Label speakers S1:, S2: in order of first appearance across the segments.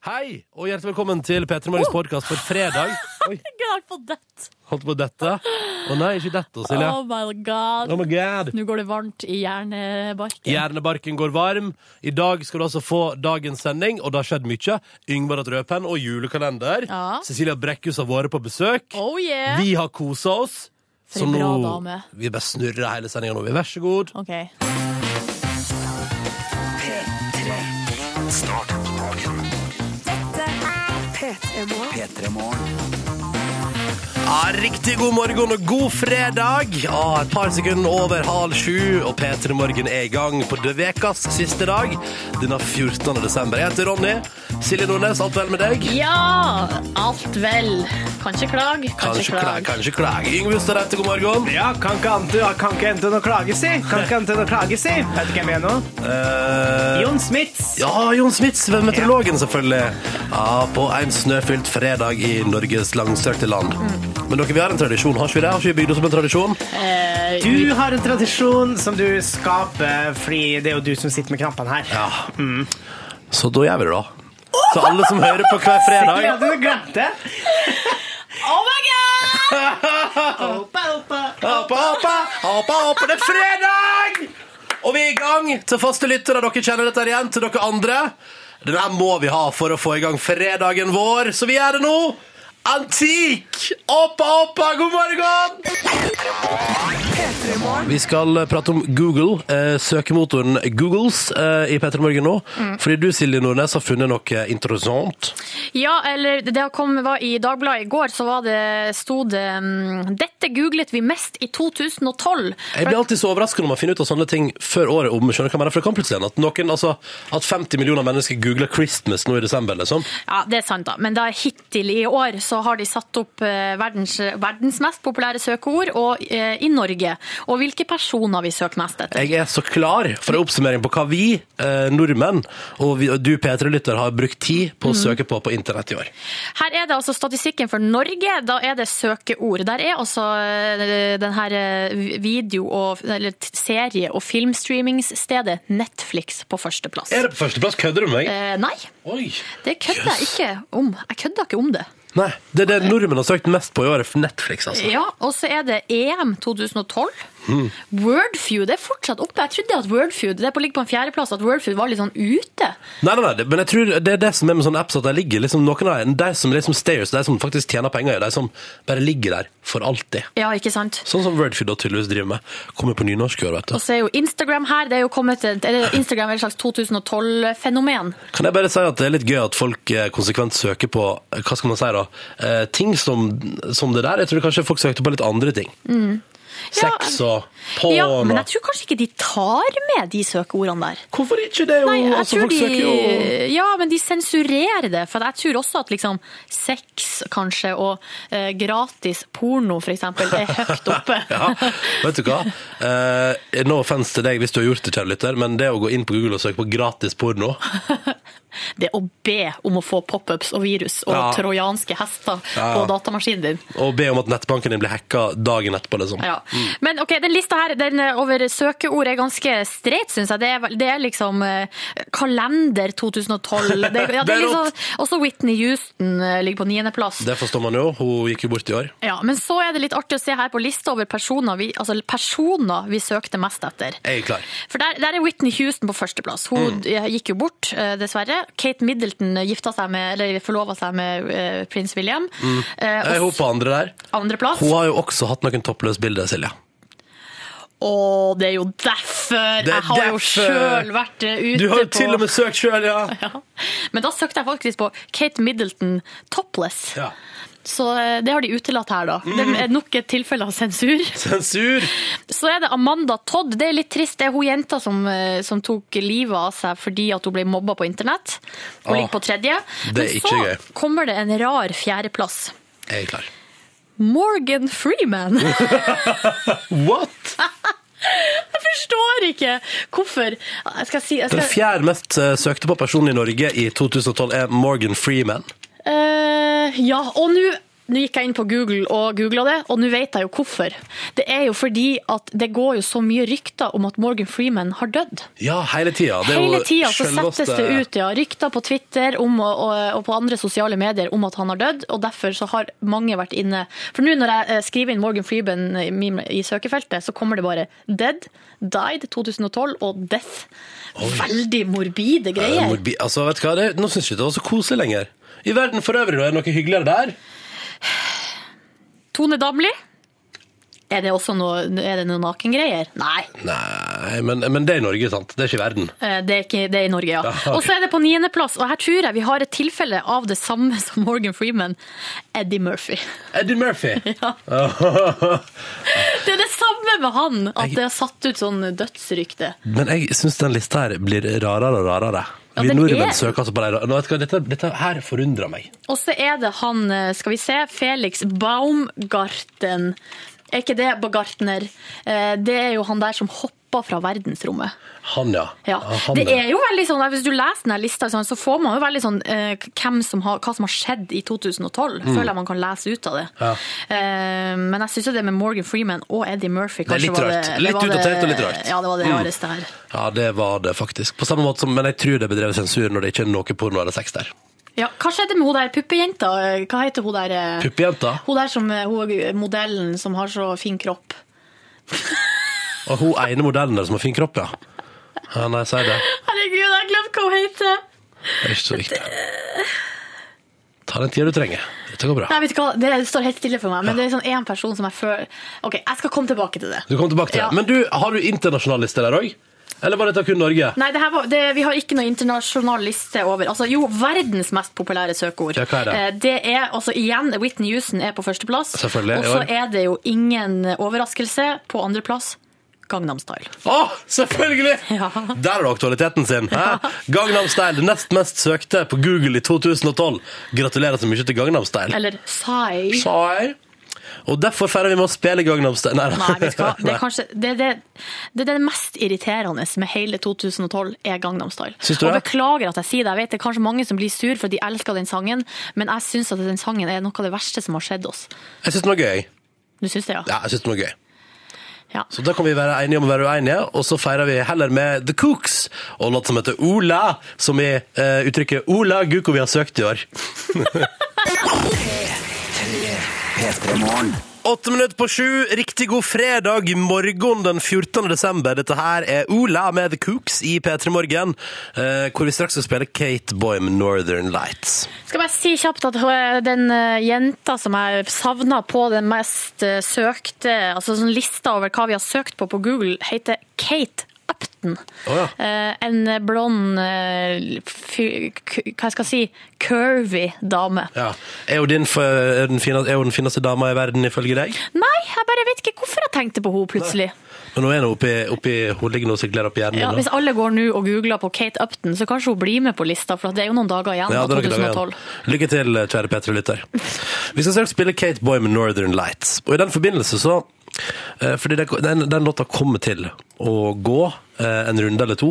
S1: Hei, og hjertelig velkommen til P3
S2: Oh.
S1: Morgens podkast for fredag. Oi,
S2: Jeg har fått dødt.
S1: holdt på dette. Å nei, ikke dette, Silje.
S2: Oh my god.
S1: Oh my god.
S2: Nå går det varmt i hjernebarken.
S1: Hjernebarken går varm. I dag skal du altså få dagens sending, og det har skjedd mye. Yngvar hatt rødpenn og julekalender.
S2: Ja.
S1: Cecilia Brekkhus har vært på besøk.
S2: Oh yeah.
S1: Vi har kosa oss.
S2: For en bra dame.
S1: vi bare snurrer hele sendinga nå. vi. Vær så god.
S2: OK.
S1: Ja, riktig god morgen og god fredag. Ja, et par sekunder over halv sju, og P3 Morgen er i gang på det vekas siste dag. Denne 14. desember. Jeg heter Ronny. Silje Nordnes, alt vel med deg?
S2: Ja, alt vel. Kan ikke klage, kan
S1: klage,
S2: ikke klage.
S1: kanskje klage. Yngve Ustad heter, god morgen.
S3: Ja, kan ikke annet enn- kan ikke annet enn å klage, si. Kan ikke annet enn å klage, si. Vet du hvem jeg er nå?
S1: Eh,
S3: Jon Smits.
S1: ja, Jon Smits, ved meteorologen selvfølgelig. Ja, på en snøfylt fredag i Norges langstrakte land. Men dere, vi har en tradisjon, har ikke vi det? Har ikke vi bygd oss opp en tradisjon?
S2: Eh,
S3: Du har en tradisjon som du skaper, fordi det er jo du som sitter med knappene her.
S1: Ja. Så da gjør vi det, da. Så alle som hører på hver fredag
S3: Ja, du glemte.
S2: Oh my god!
S3: Hoppa, hoppa.
S1: Hoppa, hoppa, hoppa, hoppa, det er fredag! Og vi er i gang til faste lyttere. Dere kjenner dette igjen til dere andre. Den her må vi ha for å få i gang fredagen vår, så vi gjør det nå. Antik! Hoppa, hoppa, god morgen! Vi skal eh, prate om Google, eh, søkemotoren Googles eh, i P3 Morgen nå. Fordi du, Silje Nordnes, har funnet noe interessant.
S2: Ja, eller det har kommet var i Dagbladet i går, så var det, sto det mm, Dette googlet vi mest i 2012.
S1: Jeg blir alltid så overrasket når man finner ut av sånne ting før året om. skjønner du hva jeg mener, for det kan plutselig hende at, noen, altså, at 50 millioner mennesker googler Christmas nå i desember. liksom.
S2: Ja, det er sant, da. Men da hittil i år så har de satt opp eh, verdens, verdens mest populære søkeord og, eh, i Norge. Og hvilke personer vi søker mest etter.
S1: Jeg er så klar for en oppsummering på hva vi eh, nordmenn og, vi, og du P3-lytter har brukt tid på å
S2: Mm.
S1: søke på på internett i år.
S2: Her er det altså statistikken for Norge. Da er det søkeord. Der er også eh, den her eh, video- og eller, t- serie- og filmstreamingsstedet Netflix på førsteplass.
S1: Er det på førsteplass? Kødder du med meg?
S2: Eh, nei,
S1: Oi!
S2: det kødder jeg ikke om. Jeg kødder ikke om det.
S1: Nei, Det er det nordmenn har søkt mest på i året. Netflix, altså.
S2: Ja, og så er det E EM 2012.
S1: Hmm.
S2: Wordfeud det er fortsatt oppe. Jeg trodde at Wordfeud det er på, ligger på en fjerdeplass, at Wordfeud var litt sånn ute.
S1: Nei, nei, nei, det- men jeg tror det er det som er med sånne apps at de ligger liksom, noen av dem, de som liksom stairs, de som faktisk tjener penger, de som bare ligger der for alltid.
S2: Ja, ikke sant?
S1: Sånn som Wordfeed da tydeligvis driver med. Kommer på nynorsk i år, vet du.
S2: Og så er jo Instagram her. det er jo kommet, eller Instagram er et slags 2012-fenomen.
S1: Kan jeg bare si at det er litt gøy at folk eh, konsekvent søker på eh, hva skal man si da, eh, ting som, som det der. Jeg tror kanskje folk søkte på litt andre ting. Sex og porn
S2: Ja, men jeg
S1: og
S2: tror kanskje ikke de tar med de søkeordene der.
S1: Hvorfor ikke det? Jo,
S2: Nei, jeg
S1: altså,
S2: tror
S1: folk
S2: de,
S1: søker jo
S2: ja, men de sensurerer det. For jeg tror også at liksom sex, kanskje, og eh, gratis porno, for eksempel, er høyt oppe.
S1: ja, vet du hva? Eh, no offense til deg hvis du har gjort det, kjære lytter, men det å gå inn på Google og søke på gratis porno
S2: det å be om å få pop-ups og virus og
S1: Ja.
S2: trojanske hester
S1: Ja.
S2: på datamaskinen din.
S1: og be om at nettbanken din blir hacka dagen etterpå, liksom.
S2: Ja. Men ok, den lista her den eh, over søkeord er ganske streit, syns jeg. Det er, vel- det er liksom eh, kalender 2012. Det, ja,
S1: Det
S2: det
S1: er
S2: er liksom, også Whitney Houston eh, ligger på niendeplass.
S1: Det forstår man jo. Hun gikk jo bort i år.
S2: Ja, men så er det litt artig å se her på lista over personer vi, altså personer vi søkte mest etter.
S1: Jeg er klar.
S2: For der, der er Whitney Houston på førsteplass. Hun
S1: Mm.
S2: eh, gikk jo bort, eh, dessverre. Kate Middleton gifta seg med, eller forlova seg med eh, prins William. Eh,
S1: Mm. Jeg
S2: og
S1: håper andre der.
S2: andreplass.
S1: Hun har jo også hatt noen toppløse bilder, Silja.
S2: Å, det er jo derfor!
S1: Det er
S2: jeg har jo
S1: derfor.
S2: sjøl vært eh, ute
S1: Du har jo
S2: på
S1: til og med søkt sjøl, ja.
S2: ja. Men da søkte jeg faktisk på Kate Middleton topless.
S1: ja. Mm.
S2: Så eh, det har de utelatt her, da. Det er nok et tilfelle av sensur.
S1: Sensur!
S2: Så er det Amanda Todd. Det er litt trist. Det er hun jenta som, eh, som tok livet av seg fordi at hun ble mobba på internett. Hun
S1: Ah,
S2: ligger på tredje.
S1: det er
S2: Men
S1: ikke
S2: så
S1: gøy.
S2: kommer det en rar fjerdeplass.
S1: Jeg er klar.
S2: Morgan Freeman. Jeg
S1: What?!
S2: forstår ikke hvorfor. Jeg skal si jeg
S1: Den
S2: skal,
S1: fjerde mest eh, søkte på personen i Norge i 2012 er Morgan Freeman.
S2: Eh, Ja, og nå nå gikk jeg inn på Google og googla det, og nå vet jeg jo hvorfor. Det er jo fordi at det går jo så mye rykter om at Morgan Freeman har dødd.
S1: Ja, hele tida. Det er jo
S2: Hele tida så
S1: selveste-
S2: settes det ut ja, rykter på Twitter om, og, og, og på andre sosiale medier om at han har dødd, og derfor så har mange vært inne. For nå når jeg eh, skriver inn Morgan Freeman i, min- i søkefeltet, så kommer det bare 'dead', 'died', 2012 og 'death'. Veldig morbide
S1: Eh,
S2: greier.
S1: morbi- Altså, vet du hva? Det, nå syns jeg ikke det var så koselig lenger. I verden for øvrig, da, er det noe hyggeligere der?
S2: Tone Damli. Er det også noe, er det noe nakengreier? Nei,
S1: Nei, men, men det er i Norge, sant? Det er ikke i verden.
S2: eh, det er, ikke, det er i Norge, ja.
S1: Ja, ok.
S2: Og så er det på niendeplass, og her tror jeg vi har et tilfelle av det samme som Morgan Freeman, Eddie Murphy.
S1: Eddie Murphy.
S2: Ja. Det er det samme med han, at det har satt ut sånn dødsrykte.
S1: men jeg syns den lista her blir rarere og rarere.
S2: Ja,
S1: Vi
S2: den
S1: nordmenn
S2: er-
S1: søker altså på det. Nå, vet du hva, dette, dette her forundrer meg.
S2: Og så er det han, eh, skal vi se, Felix Baumgarten. Er ikke det Baumgartner? Eh, Det er jo han der som hoppa fra verdensrommet.
S1: Han, ja.
S2: Ja.
S1: han,
S2: Det er jo veldig sånn, Hvis du leser denne lista, sånn, så får man jo veldig sånn eh, hvem som har, hva som har skjedd i 2012. Føler jeg man kan lese ut av det.
S1: Mm. Ja.
S2: Eh, men jeg syns jo det med Morgan Freeman og Eddie Murphy
S1: er
S2: kanskje
S1: litt
S2: var
S1: rart. Litt
S2: var
S1: utdatert og litt rart. Mm.
S2: Ja, det var det rareste her.
S1: Ja, det var det faktisk. På samme måte som, Men jeg tror det er bedrevet sensur når det ikke er noe porno eller sex der.
S2: Ja, hva skjedde med hun der puppejenta? Hva heter hun der? eh,
S1: Puppejenta.
S2: Hun der som eh, hun, er modellen som har så fin kropp.
S1: Og hun ene modellen der som har fin kropp, ja. ja nei, si det.
S2: Herregud, jeg har glemt hva hun heter!
S1: Det er ikke så viktig. Ta den tida du trenger. Dette går bra.
S2: Nei, vet du hva? Det står helt stille for meg, men det er sånn én person som jeg føler Ok, jeg skal komme tilbake til det.
S1: Du kommer tilbake til det.
S2: Ja.
S1: Men du, har du internasjonal liste der òg? Eller var dette kun Norge?
S2: Nei, det her var, det, vi har ikke noen internasjonal liste over Altså, jo, verdens mest populære søkeord.
S1: Ja, hva er det?
S2: Eh, det er altså igjen Whitney Houston er på førsteplass.
S1: Selvfølgelig,
S2: Og
S1: i
S2: så
S1: år.
S2: er det jo ingen overraskelse på andreplass. Gangnam Style.
S1: Å, selvfølgelig!
S2: Ja.
S1: Der har du aktualiteten sin. Hæ? Gangnam Style, det nest mest søkte på Google i 2012. Gratulerer så mye til Gangnam Style.
S2: Eller Psy.
S1: Sa jeg. Og derfor feirer vi med å spille Gangnam Style. Nei,
S2: Nei, vet du hva. Det
S1: Nei.
S2: er kanskje det, er det, det, er det mest irriterende med hele 2012 er Gangnam Style.
S1: Syns du
S2: og
S1: det?
S2: beklager at jeg sier det. Jeg vet det er kanskje mange som blir sur for at de elsker den sangen, men jeg syns at den sangen er noe av det verste som har skjedd oss.
S1: Jeg syns den var gøy.
S2: Du syns det, ja?
S1: Ja, jeg synes den var gøy.
S2: Ja.
S1: Så da kan vi være enige om å være uenige, og så feirer vi heller med The Cooks og en låt som heter Ola, som i eh, uttrykket Ola Guko vi har søkt i år. Åtte minutter på sju, riktig god fredag i morgen den 14. desember. Dette her er Ola med The Cooks i P3 Morgen, eh, hvor vi straks skal spille Kate Boy med Northern Lights.
S2: Skal bare si kjapt at øh, den øh, jenta som jeg savna på den mest øh, søkte altså sånn lista over hva vi har søkt på på Google, heter Kate Upton.
S1: Å ja.
S2: Eh, En blond øh, fy- k- Hva jeg skal jeg si? Curvy dame.
S1: Ja. Er jo din f- er den, fine, er jo den fineste dama i verden, ifølge deg?
S2: Nei, jeg bare vet ikke hvorfor jeg tenkte på henne plutselig.
S1: Men nå er hun oppi, oppi hun ligger nå og sikler oppi hjernen.
S2: Ja,
S1: din nå.
S2: hvis alle går nå og googler på Kate Upton, så kanskje hun blir med på lista, for det er jo noen dager igjen
S1: Ja,
S2: av
S1: det er nok det,
S2: 2012.
S1: ja. Lykke til, kjære P3-lytter. Vi skal straks spille Kate Boy med Northern Lights. Og i den forbindelse så eh, Fordi det- den, den låta kommer til å gå eh, en runde eller to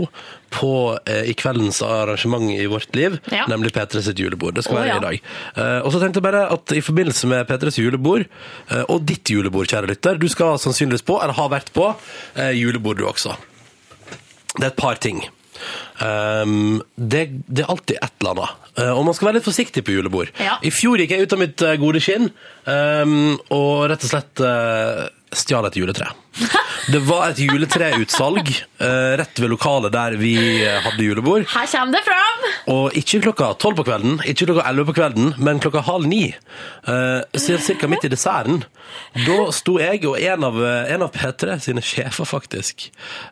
S1: på eh, i kveldens arrangement i vårt liv,
S2: Ja.
S1: nemlig P3 sitt julebord. Det skal
S2: Å,
S1: være
S2: ja.
S1: i dag. Eh, Og så tenkte jeg bare at i forbindelse med P3s julebord, eh, og ditt julebord, kjære lytter, du skal sannsynligvis på, eller har vært på, eh, julebord du også. Det er et par ting. Ehm, det, det er alltid et eller annet. Eh, og man skal være litt forsiktig på julebord.
S2: Ja.
S1: I fjor gikk jeg ut av mitt eh, gode skinn ehm, og rett og slett eh, stjal et juletre. Det var et juletreutsalg eh, rett ved lokalet der vi eh, hadde julebord.
S2: Her kommer det fram!
S1: Og ikke klokka tolv på kvelden, ikke klokka elleve på kvelden, men klokka halv ni. Uh, cirka midt i desserten. Da sto jeg og en av, eh, en av P3 sine sjefer, faktisk,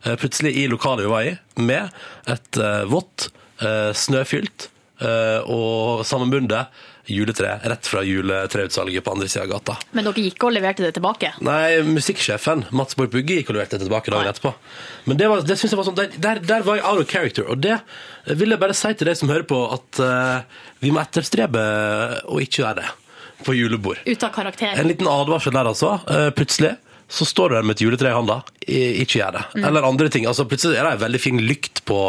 S1: eh, plutselig i lokalet vi var i, med et eh, vått, eh, snøfylt eh, og sammenbundet juletre rett fra juletreutsalget på andre sida av gata.
S2: Men dere gikk og leverte det tilbake.
S1: Nei, musikksjefen Mats Borg Bugge gikk og leverte det tilbake dagen etterpå. Men det, var, det synes jeg var sånn der, der, der var jeg out of character. Og det vil jeg bare si til deg som hører på, at eh, vi må etterstrebe å ikke gjøre det på julebord.
S2: Ut av karakter.
S1: En liten advarsel der, altså. Eh, plutselig så står du der med et juletre i hånda. I- Ikke gjør det.
S2: Mm.
S1: Eller andre ting. Altså, plutselig er det en veldig fin lykt på,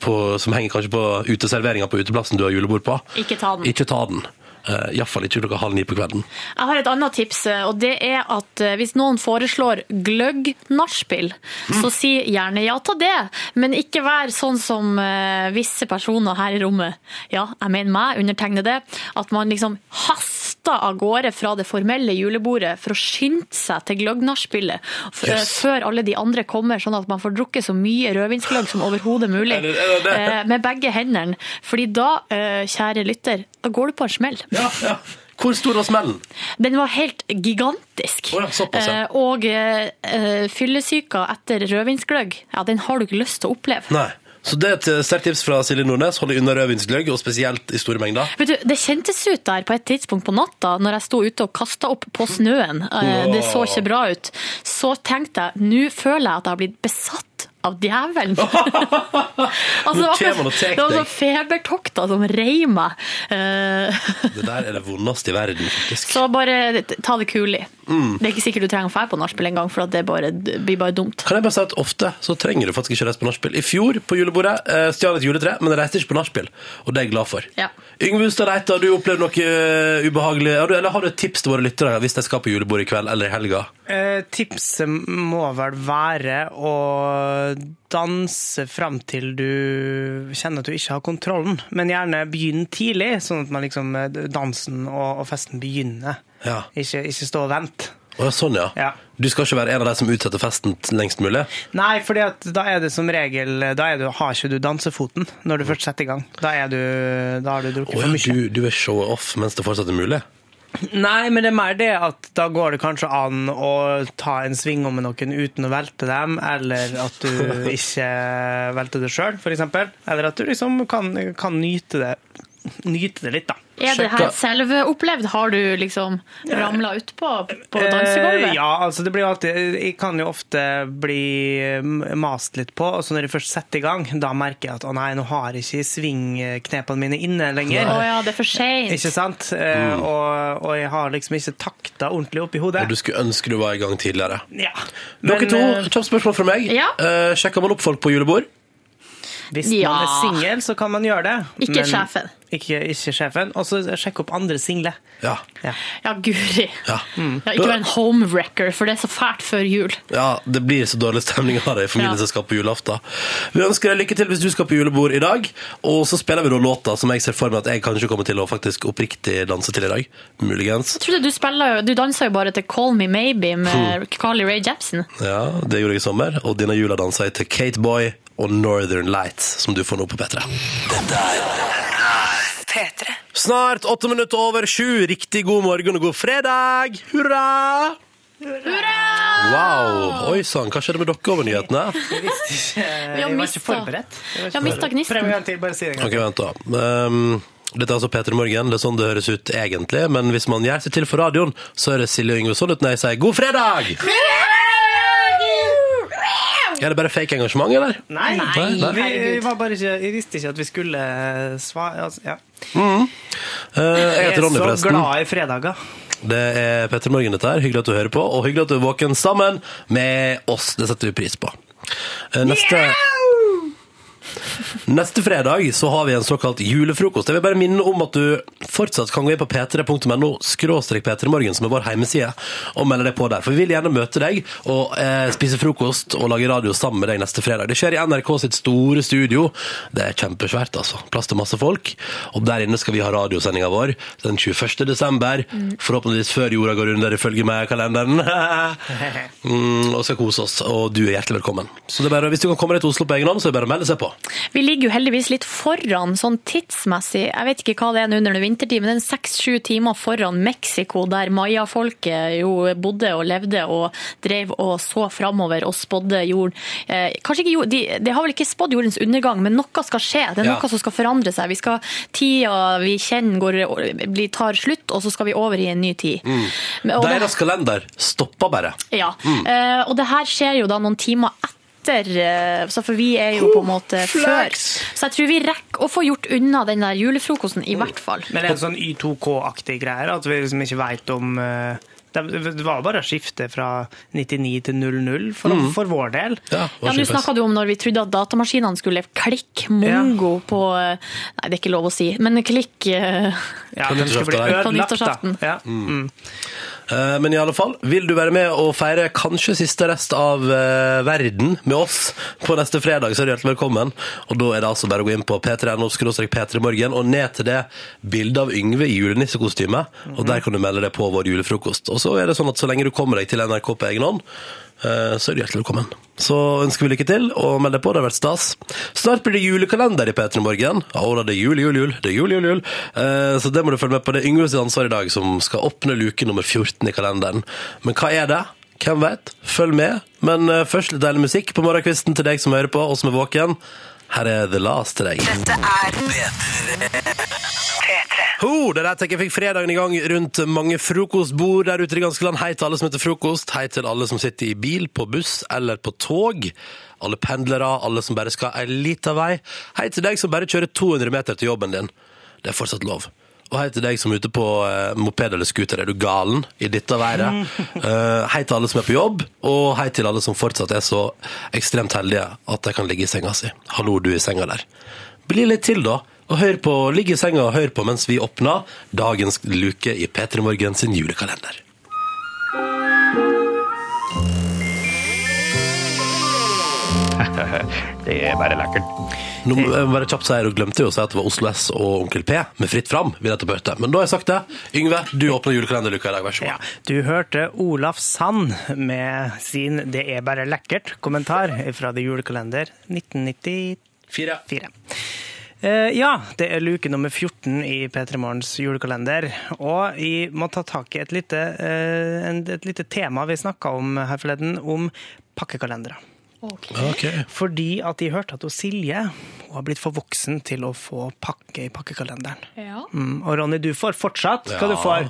S1: på, som henger kanskje på uteserveringa på uteplassen du har julebord på.
S2: Ikke ta den.
S1: Ikke ta den. Uh, Iallfall ikke klokka halv ni på kvelden.
S2: Jeg har et annet tips, eh, og det er at eh, hvis noen foreslår gløgg nachspiel,
S1: Mm.
S2: så si gjerne ja til det, men ikke vær sånn som eh, visse personer her i rommet. Ja, jeg mener meg, undertegner det, at man liksom haster av gårde fra det formelle julebordet for å skynde seg til gløgg nachspielet f- eh,
S1: Yes.
S2: før alle de andre kommer, sånn at man får drukket så mye rødvinsgløgg som overhodet mulig
S1: Er det- er det det?
S2: eh, med begge hendene. Fordi da, eh, kjære lytter, da går du på en smell.
S1: Ja, ja. Hvor stor var smellen?
S2: Den var helt gigantisk.
S1: Å ja, såpass, ja.
S2: Eh, Og eh, eh, fyllesyka etter rødvinsgløgg, ja, den har du ikke lyst til å oppleve.
S1: Nei. Så det er et eh, sterkt tips fra Silje Nordnes. Hold deg unna rødvinsgløgg, og spesielt i store mengder.
S2: Vet du, Det kjentes ut der på et tidspunkt på natta, når jeg sto ute og kasta opp på snøen. Eh, Det så ikke bra ut. Så tenkte jeg nå føler jeg at jeg har blitt besatt av djevelen. altså, det var,
S1: Nå kommer han og
S2: akkurat-
S1: tek
S2: det var
S1: deg.
S2: sånn febertokter som rei meg. Eh,
S1: Det der er det vondeste i verden, faktisk.
S2: Så bare ta det kulig.
S1: Mm.
S2: Det er ikke sikkert du trenger å dra på nachspiel engang, for at det, bare, det blir bare dumt.
S1: Kan jeg bare si at ofte så trenger du faktisk ikke reise på nachspiel. I fjor på julebordet eh, stjal jeg et juletre, men jeg reiste ikke på nachspiel, og det er jeg glad for.
S2: Ja.
S1: Yngve Hustad Reite, har du opplevd noe eh, ubehagelig? Har du, eller har du et tips til våre lyttere hvis de skal på julebord i kveld eller i helga?
S3: Eh, tipset må vel være å danse fram til du kjenner at du ikke har kontrollen. Men gjerne begynn tidlig, sånn at man liksom, eh, dansen og, og festen begynner.
S1: Ja.
S3: Ikke, ikke stå og vente.
S1: Å, ja, sånn, ja.
S3: Ja.
S1: Du skal ikke være en av de som utsetter festen t- lengst mulig?
S3: Nei, fordi at da er det som regel Da er du, har ikke du dansefoten når du først setter i gang. Da, er du, da har du drukket
S1: Å
S3: for
S1: ja,
S3: mye.
S1: du, du er show-off mens det fortsatt er mulig?
S3: Nei, men det er mer det at da går det kanskje an å ta en sving om med noen uten å velte dem, eller at du ikke velter det sjøl, f.eks. Eller at du liksom kan, kan nyte det. Nyte det litt, da.
S2: Er det her
S1: Sjekka.
S2: selve opplevd? Har du liksom ramla utpå på dansegulvet?
S3: Eh, Ja, altså det blir jo alltid Jeg kan jo ofte bli eh, mast litt på, og så når jeg først setter i gang, da merker jeg at å nei, nå har jeg ikke svingknepene mine inne lenger.
S2: Å ja, det er for seint.
S3: Ikke sant? Eh, Og, og jeg har liksom ikke takta ordentlig opp i hodet.
S1: Og Mm. du skulle ønske du var i gang tidligere.
S3: Ja.
S1: Dere
S3: Men,
S1: to,
S3: eh,
S1: kjapt spørsmål fra meg.
S2: Ja.
S1: Eh, sjekker man opp folk på julebord?
S3: Hvis
S2: Ja.
S3: man er singel, så kan man gjøre det.
S2: Ikke sjefen.
S3: Ikke, ikke sjefen. Og så sjekk opp andre single.
S1: Ja.
S3: Ja.
S2: Ja, guri.
S1: Ja.
S2: Mm.
S3: Mm.
S2: Ja, ikke vær en homewrecker, for det er så fælt før jul.
S1: Ja, det blir så dårlig stemning av det i familieselskap på julaften. Vi ønsker deg lykke til hvis du skal på julebord i dag. Og så spiller vi da låta som jeg ser for meg at jeg kanskje kommer til å faktisk oppriktig danse til i dag. Muligens.
S2: Jeg trodde du spiller jo Du dansa jo bare til Call Me Maybe med Carly Rae
S3: Eh,
S2: Jepsen.
S1: Ja, det gjorde jeg i sommer. Og denne jula dansa jeg til Kate Boy og Northern Lights, som du får nå på P3.
S4: P3.
S1: Snart åtte minutter over sju. Riktig god morgen og god fredag! Hurra!
S2: Hurra!
S1: Wow! Oi sann, hva skjedde med dere over nyhetene?
S2: Vi har
S3: jeg var
S2: mista-
S3: ikke forberedt.
S2: Vi har mista
S3: Prøv en
S2: gnisten.
S3: gang til, bare si det en gang.
S1: Ok, vent da. Um, dette er altså Peter Morgen, det er sånn det høres ut egentlig, men hvis man gjør seg til for radioen, så er det Silje Yngve Solluten når jeg sier god fredag! Er det bare fake engasjement, eller?
S3: Nei,
S1: Nei, nei.
S3: Vi, vi var bare ikke, jeg visste ikke at vi skulle svare. Altså, ja.
S1: Eh, jeg heter Ronny,
S3: Jeg er så
S1: forresten.
S3: glad i fredager.
S1: Det er Peter Morgen, dette her. Hyggelig at du hører på, og hyggelig at du er våken sammen med oss. Det setter vi pris på. Eh, Neste... Neste fredag så har vi en såkalt julefrokost. Jeg vil bare minne om at du fortsatt kan gå inn på p3.no skråstrek p3morgen, som er vår hjemmeside, og melde deg på der. For vi vil gjerne møte deg og eh, spise frokost og lage radio sammen med deg neste fredag. Det skjer i NRK sitt store studio. Det er kjempesvært, altså. Plass til masse folk. Og der inne skal vi ha radiosendinga vår den 21. desember. Forhåpentligvis før jorda går under, ifølge meg i kalenderen. mm, og skal kose oss. Og du er hjertelig velkommen. Så det er bare, hvis du kan komme deg til Oslo på egen hånd, så er det bare å melde seg på.
S2: Vi ligger jo heldigvis litt foran sånn tidsmessig. Jeg vet ikke hva det er nå under det vintertid, men det er seks-sju timer foran Mexico, der mayafolket jo bodde og levde og drev og så framover og spådde jorden. Eh, kanskje ikke jord, de, de har vel ikke spådd jordens undergang, men noe skal skje. Det er
S1: Ja.
S2: noe som skal forandre seg. Vi skal, tida vi kjenner går, blir, tar slutt, og så skal vi over i en ny tid. Men- og det-
S1: Deres kalender stopper bare.
S2: ja,
S3: Mm.
S2: eh, og det her skjer jo da noen timer etter, eh, så for vi er jo på en måte før.
S1: flaks!
S2: Så jeg tror vi rekker å få gjort unna den der julefrokosten, i hvert fall.
S3: Men det er en sånn Y2K-aktig greier, at vi liksom ikke veit om eh, det det var bare å skifte fra 99 til 00 for,
S5: Mm.
S3: for vår del.
S1: Ja,
S2: Ja, Nå snakka du om når vi trodde at datamaskinene skulle klikke mongo på eh, Nei, det er ikke lov å si, men klikk eh,
S3: Ja,
S1: På
S3: den skal bli
S1: nyttårsaften, ja.
S2: På
S3: ødelagt, da.
S2: nyttårsaften.
S3: Ja.
S5: Mm.
S1: Eh, Men i alle fall, vil du være med og feire kanskje siste rest av eh, verden med oss på neste fredag, så er du hjertelig velkommen. Og da er det altså bare å gå inn på p3.no p3morgen og ned til det bildet av Yngve i julenissekostyme. Og der kan du melde deg på vår julefrokost. Og så er det sånn at så lenge du kommer deg til NRK på egen hånd, eh, så er du hjertelig velkommen. Så ønsker vi lykke til, og meld deg på. Det har vært stas. Snart blir det julekalender i P3 Morgen. Ja, og da, det er jul, jul, jul. Det er jul, jul, jul. Eh, så det må du følge med på. Det er Yngves ansvar i dag som skal åpne luke nummer 14 i kalenderen. Men hva er det? Hvem vet? Følg med. Men eh, først litt deilig musikk på morgenkvisten til deg som hører på, og som er våken. Her er The Last til deg.
S4: Dette er P3.
S1: Ho, det der tenker jeg fikk fredagen i gang rundt mange frokostbord der ute i det ganske land. Hei til alle som heter frokost. Hei til alle som sitter i bil, på buss eller på tog. Alle pendlere, alle som bare skal en liten vei. Hei til deg som bare kjører 200 meter til jobben din. Det er fortsatt lov. Og hei til deg som er ute på eh, moped eller scooter. Er du galen i dette været? Eh, hei til alle som er på jobb, og hei til alle som fortsatt er så ekstremt heldige at de kan ligge i senga si. Hallo, du i senga der. Bli litt til, da. Og hør på, ligg i senga og hør på mens vi åpner dagens luke i P3 Morgen sin julekalender.
S5: Det er bare lekkert.
S1: Nå må jeg bare kjapt si her, og glemte jo å si at det var Oslo S og Onkel P med Fritt Fram. vi nettopp hørte. Men da har jeg sagt det. Yngve, du åpner julekalenderluka i dag, vær så
S3: Ja,
S1: god.
S3: du hørte Olaf Sand med sin 'Det er bare lekkert'-kommentar fra The Julekalender 1993.
S1: Fire.
S3: Fire. Eh, ja, det er luke nummer 14 i P3 Morgens julekalender. Og jeg må ta tak i et lite, eh, en- et lite tema vi snakka om her forleden, om pakkekalendere.
S1: Ok.
S3: Fordi at jeg hørte at hun Silje hun har blitt for voksen til å få pakke i pakkekalenderen.
S2: Ja.
S3: Mm, og Ronny, du får fortsatt hva du
S1: Ja.
S3: får.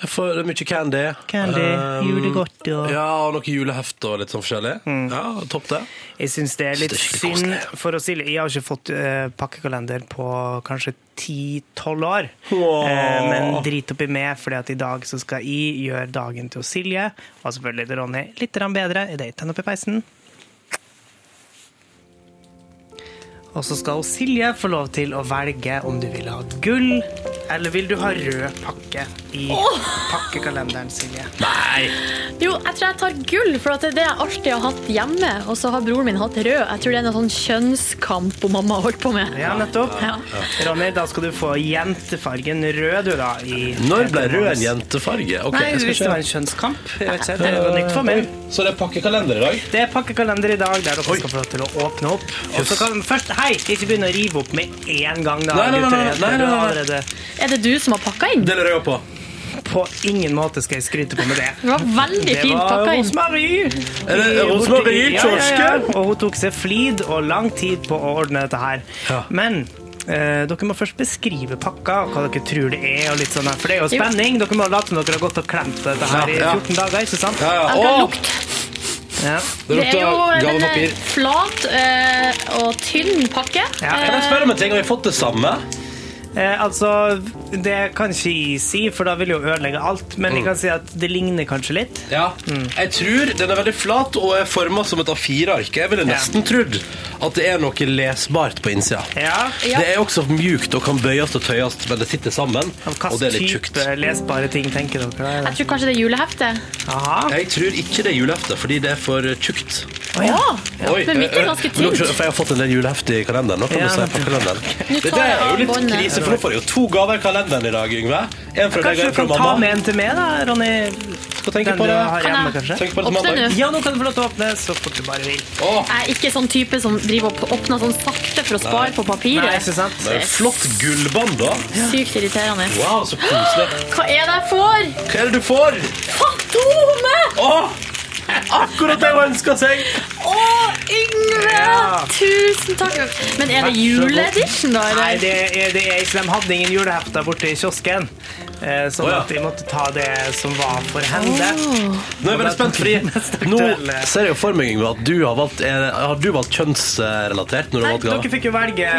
S1: Jeg får det er mye candy.
S3: Candy,
S1: Um,
S3: julegodt og- Mm.
S1: Ja, og noe juleheft og litt sånn forskjellig. Ja, topp det.
S3: Jeg syns det er litt
S1: Det er skikkelig
S3: synd
S1: koselig.
S3: for å si Jeg har ikke fått eh, pakkekalender på kanskje 10-12 år.
S1: Åh.
S3: Eh, men drit oppi meg, Fordi at i dag så skal jeg gjøre dagen til Silje og selvfølgelig til Ronny litt grann bedre. I det tenn oppi peisen. Og så skal Silje få lov til å velge om du vil ha et gull, eller vil du ha rød pakke i pakkekalenderen, Silje.
S1: Nei!
S2: Jo, jeg tror jeg tar gull, for at det er det jeg alltid har hatt hjemme. Og så har broren min hatt rød. Jeg tror det er noe sånn kjønnskamp hun mamma har holdt på med.
S3: Ja, nettopp.
S2: Ja.
S3: Ronny, da skal du få jentefargen rød, du, da. I
S1: Når ble rød en jentefarge? Ok,
S3: Nei,
S1: jeg skal
S3: hvis det
S1: ikke-
S3: var en kjønnskamp. Jeg vet ikke, det er noe nytt for meg.
S1: Så det er pakkekalender i dag?
S3: Det er pakkekalender i dag, der dere skal få lov til å åpne opp. Og så kan først, Hei, ikke begynne å rive opp med en gang, da.
S1: Nei, nei, nei, nei,
S3: gutter.
S1: nei,
S3: Dere
S1: nei, nei.
S3: er allerede
S2: Er det du som har pakka inn?
S1: Det lurer jeg også på.
S3: På ingen måte skal jeg skryte på med det.
S2: Det var veldig
S3: Det
S2: fint
S3: var
S2: pakka inn.
S3: Rosmarie.
S1: Er det
S3: I-
S1: Rosmarie
S3: borti- ja, ja,
S1: Kiosken?
S3: ja. Og hun tok seg flid og lang tid på å ordne dette her.
S1: Ja.
S3: Men eh, dere må først beskrive pakka og hva dere tror det er. Og litt sånn, her, for det er jo
S2: Jo.
S3: spenning. Dere må late som dere har gått og klemt på dette her i
S1: Ja, ja.
S3: 14 dager. ikke sant?
S1: Ja, ja.
S2: Jeg kan
S1: Åh,
S2: lukte.
S3: Ja.
S1: det
S2: Det er
S1: lukter
S2: jo den
S1: gavepapir.
S2: er flat eh, og tynn pakke.
S3: Ja,
S1: Kan jeg
S2: Eh,
S1: spørre om en ting? Har vi fått det samme?
S3: Eh, altså, det kan ikke jeg si, for da vil jeg jo ødelegge alt. Men
S1: Mm.
S3: jeg kan si at det ligner kanskje litt.
S1: Ja.
S2: Mm.
S1: Jeg tror den er veldig flat og er forma som et A4-ark. Jeg ville nesten trodd at det er noe lesbart på innsida.
S3: Ja.
S2: Ja.
S1: Det er også mjukt og kan bøyes og tøyes, men det sitter sammen.
S3: Hva
S1: Og det er litt tjukt.
S3: type lesbare ting tenker dere?
S2: Eh, Jeg tror kanskje det er juleheftet.
S3: Aha.
S1: Jeg tror ikke det er julehefte, fordi det er for tjukt.
S2: Ja.
S1: Oi,
S2: Men mitt er
S1: eh,
S2: ganske
S1: eh, nå-
S2: tynt.
S1: For jeg har fått en del julehefte i kalenderen. Nå kan du
S3: Ja,
S1: se
S3: nettopp.
S1: på kalenderen.
S2: Nå tar
S1: Det der
S2: jeg
S1: er jo
S2: av
S1: litt
S2: båndet.
S1: krise, for nå får jeg jo to gaver i kalenderen i dag, Yngve. En fra deg og
S3: Kanskje
S1: en
S3: du
S1: fra
S3: kan ta
S1: mamma.
S3: med en til meg, da, Ronny?
S1: Skal tenke
S3: Den
S1: på
S3: du
S1: det.
S3: har
S2: Kan
S3: hjemme,
S2: jeg-
S3: kanskje?
S1: Tenk på det til
S2: Åpne
S1: mandag.
S2: nå.
S3: Ja, nå kan du få lov til å åpne så fort du bare vil.
S1: Åh,
S2: Jeg er ikke sånn type som driver og åpner sånn sakte for å spare på
S3: Nei,
S2: papiret.
S3: ikke sant?
S1: det er jo flott gullbånd, da.
S2: Sykt irriterende.
S1: Wow, så koselig.
S2: Hva er det jeg får?
S1: Hva er det du får?
S2: Fantomet!
S1: Åh, akkurat det hun ønska seg!
S2: Å, Yngve!
S3: Ja.
S2: Tusen takk. Men er det juleedition, da?
S3: Nei,
S2: Eller?
S3: det er, det er ikke, de hadde ingen julehefter borte i kiosken. Eh, sånn
S1: Å, ja.
S3: at de måtte ta det som var for henne.
S1: Nå er jeg veldig spent, fordi nå
S3: aktuelle.
S1: ser jeg jo for meg Yngve, at du har valgt, eh, har du valgt kjønnsrelatert når du
S3: Nei,
S1: har valgt
S3: dere
S1: gave.
S3: fikk jo velge,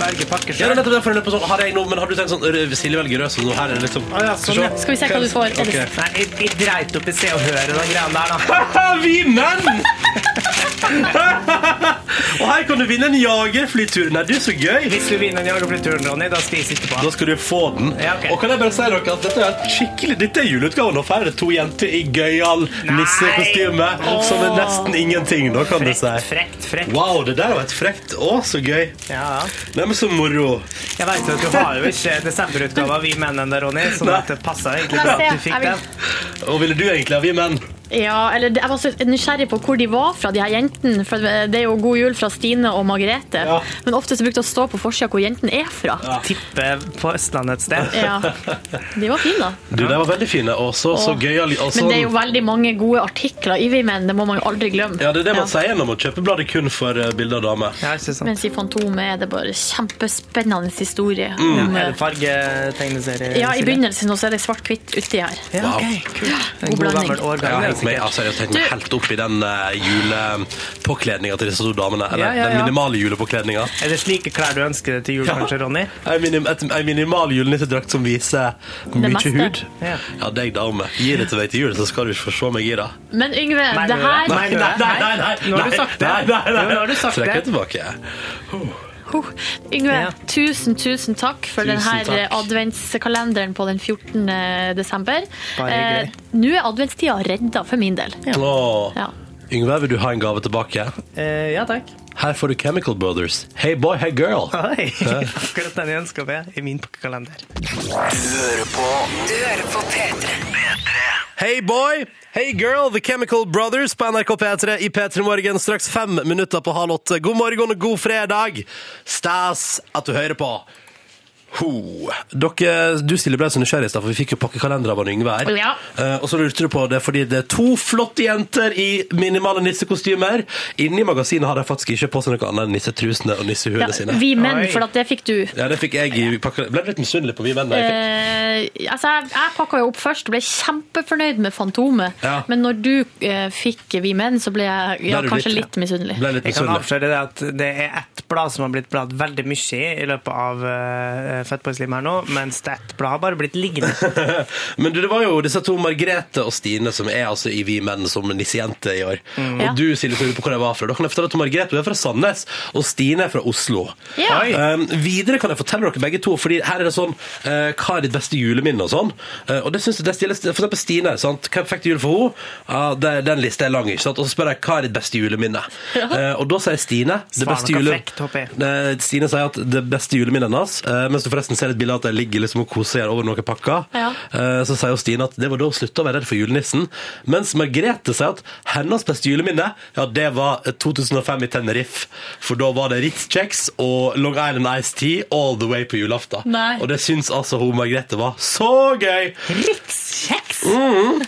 S3: velge
S1: Ja, det
S3: pakke
S1: er
S3: sjøl.
S1: nettopp derfor jeg lurer på sånn, har jeg noe, men har du tenkt sånn rød- Silje velger rød, så nå her er det liksom
S3: ja, sånn, ja.
S2: Skal vi se hva du får? Ellis?
S3: Nei, jeg, jeg dreit opp i Se og Høre og de greiene der, da.
S1: Haha, vi menn! Og her kan du vinne en jagerflytur. Nei, du, så gøy!
S3: Hvis du vinner en jagerflyturen, Ronny, da skal jeg sitte på.
S1: Da skal du få den.
S3: Ja, ok.
S1: Og kan jeg bare si dere at dette er skikkelig Dette er juleutgaven. Og her er det to jenter i gøyal nissekostyme som er nesten ingenting. Da kan du si.
S3: Frekt, frekt, frekt.
S1: Wow, det der var et frekt. Å, så gøy.
S3: Ja, ja.
S1: Nei, men så moro.
S3: Jeg vet at du har jo ikke desemberutgava vi menn ennå, Ronny, så
S1: Nei.
S3: det passa egentlig bra at
S2: Jeg
S3: du
S2: ser,
S3: fikk
S2: jeg
S3: den.
S1: Og ville du egentlig ha vi menn?
S2: Ja, eller det- Jeg var så nysgjerrig på hvor de var fra, de her jentene. For det er jo God jul fra Stine og Margrethe.
S1: Ja.
S2: Men ofte så brukte det å stå på forsida hvor jentene er fra. Ja.
S3: Tipper på Østlandet et sted.
S2: De var fine, da.
S1: Du, de var veldig fine. Og så, så
S2: Åh.
S1: gøyal. og
S2: Men det er jo
S1: sånn-
S2: veldig mange gode artikler i Vimen. Det må man jo aldri glemme.
S1: Ja, det er det man
S2: Ja.
S1: sier når man kjøper bladet kun for eh, bilder av damer.
S3: Ja, ikke sant.
S2: Mens i Fantomet er det bare kjempespennende historie.
S1: Mm.
S2: Om,
S3: Er
S2: eh,
S3: det fargetegneserie?
S2: ja, I
S3: Silje?
S2: begynnelsen også er det svart-hvitt uti her.
S3: Ja,
S1: Wow.
S3: ok, kult.
S2: God
S3: En god
S2: blanding.
S3: gammel
S1: Ja,
S3: årgang. det er
S1: helt med,
S3: sikkert.
S1: altså, jeg tenkte meg
S2: Du-
S1: helt opp i den uh, julepåkledninga til disse to damene. Eller
S3: Ja, ja,
S1: den
S3: ja.
S1: minimale julepåkledninga.
S3: Er det slike klær du ønsker deg til jul, kanskje, Ronny?
S1: Ei minim, et- ei minimal julenissedrakt som viser mye
S2: meste.
S1: hud.
S3: Ja.
S1: Ja, deg dame. Gi det til meg til jul, så skal du ikke få se meg i det.
S2: Men Yngve, det her
S3: Nei, nei, Nå har du sagt det.
S1: Nei, nei, nei.
S3: Jo, nå har du sagt
S1: Trekk
S3: det.
S1: det tilbake.
S2: Huh. Yngve,
S3: Ja.
S2: tusen, tusen takk for
S1: Tusen
S2: denne
S1: takk.
S2: adventskalenderen på den 14. desember.
S3: Bare
S2: Eh, Nå er adventstida redda for min del.
S3: Ja.
S1: Åh.
S2: Ja.
S1: Yngve, vil du ha en gave tilbake?
S3: Eh, ja takk.
S1: Her får du Chemical Brothers. Hey boy, hey girl.
S3: Oi. Akkurat den jeg ønsker meg i min pakkekalender.
S4: Du hører på P3.
S1: Hey boy, hey girl, The Chemical Brothers på NRK P3 i P3 Morgen. Straks fem minutter på halv åtte. God morgen og god fredag. Stas at du hører på. Ho. Dere, du Silje ble så nysgjerrig i stad, for vi fikk jo pakkekalender av han Yngve her.
S2: Ja.
S1: Eh, og så lurte du på det fordi det er to flotte jenter i minimale nissekostymer. Inni magasinet har de faktisk ikke på seg noe annet enn nissetrusene og nissehuene
S2: Ja,
S1: sine.
S2: vi menn,
S3: Oi.
S2: for at det fikk du.
S1: Ja, det fikk jeg i pakka. Ble litt misunnelig på vi menn. da jeg fikk-
S2: Eh, altså jeg, jeg pakka jo opp først og ble kjempefornøyd med Fantomet.
S1: Ja.
S2: Men når du eh, fikk Vi menn, så ble jeg ja,
S1: Ble du
S2: kanskje
S1: litt-
S2: litt misunnelig.
S1: Ble litt
S3: Jeg kan
S1: misunnelig.
S3: avsløre det at det er ett blad som har blitt bladd veldig mye i i løpet av uh, Fatboy Slim her nå, mens det ett blad har bare blitt liggende.
S1: Men du, det var jo disse to, Margrethe og Stine, som er altså i Vi menn som nissejente i år.
S2: Mm. Ja.
S1: Og du, Silje, lurer på hvor jeg var fra. Da kan jeg fortelle at Margrethe er fra Sandnes, og Stine er fra Oslo.
S2: Ja.
S3: Oi.
S1: Um, videre kan jeg fortelle dere begge to, fordi her er det sånn eh, Hva er ditt beste juleminne og sånn? Eh, og det synes jeg det stilles For eksempel Stine. sant? Hvem fikk du jul for henne? Ja, det- den lista er lang. ikke sant? Og så spør jeg hva er ditt beste juleminne? Eh, og da sier Stine det
S3: Svar
S1: beste
S3: noe
S1: jule...
S3: frekt, håper jeg.
S1: Eh, Stine sier at det beste juleminnet hennes eh, Mens du forresten ser et bilde av at jeg ligger liksom og koser her over noen pakker,
S2: Ja.
S1: eh, så sier jo Stine at det var da hun slutta å være redd for julenissen. Mens Margrethe sier at hennes beste juleminne Ja, det var eh, 2005 i Tenerife. For da var det Ritz-kjeks og Long Island Ice Tea all the way på julaften.
S2: Nei.
S1: Og det syns altså hun Margrethe var så gøy!
S2: Ritz-kjeks!
S1: Mm.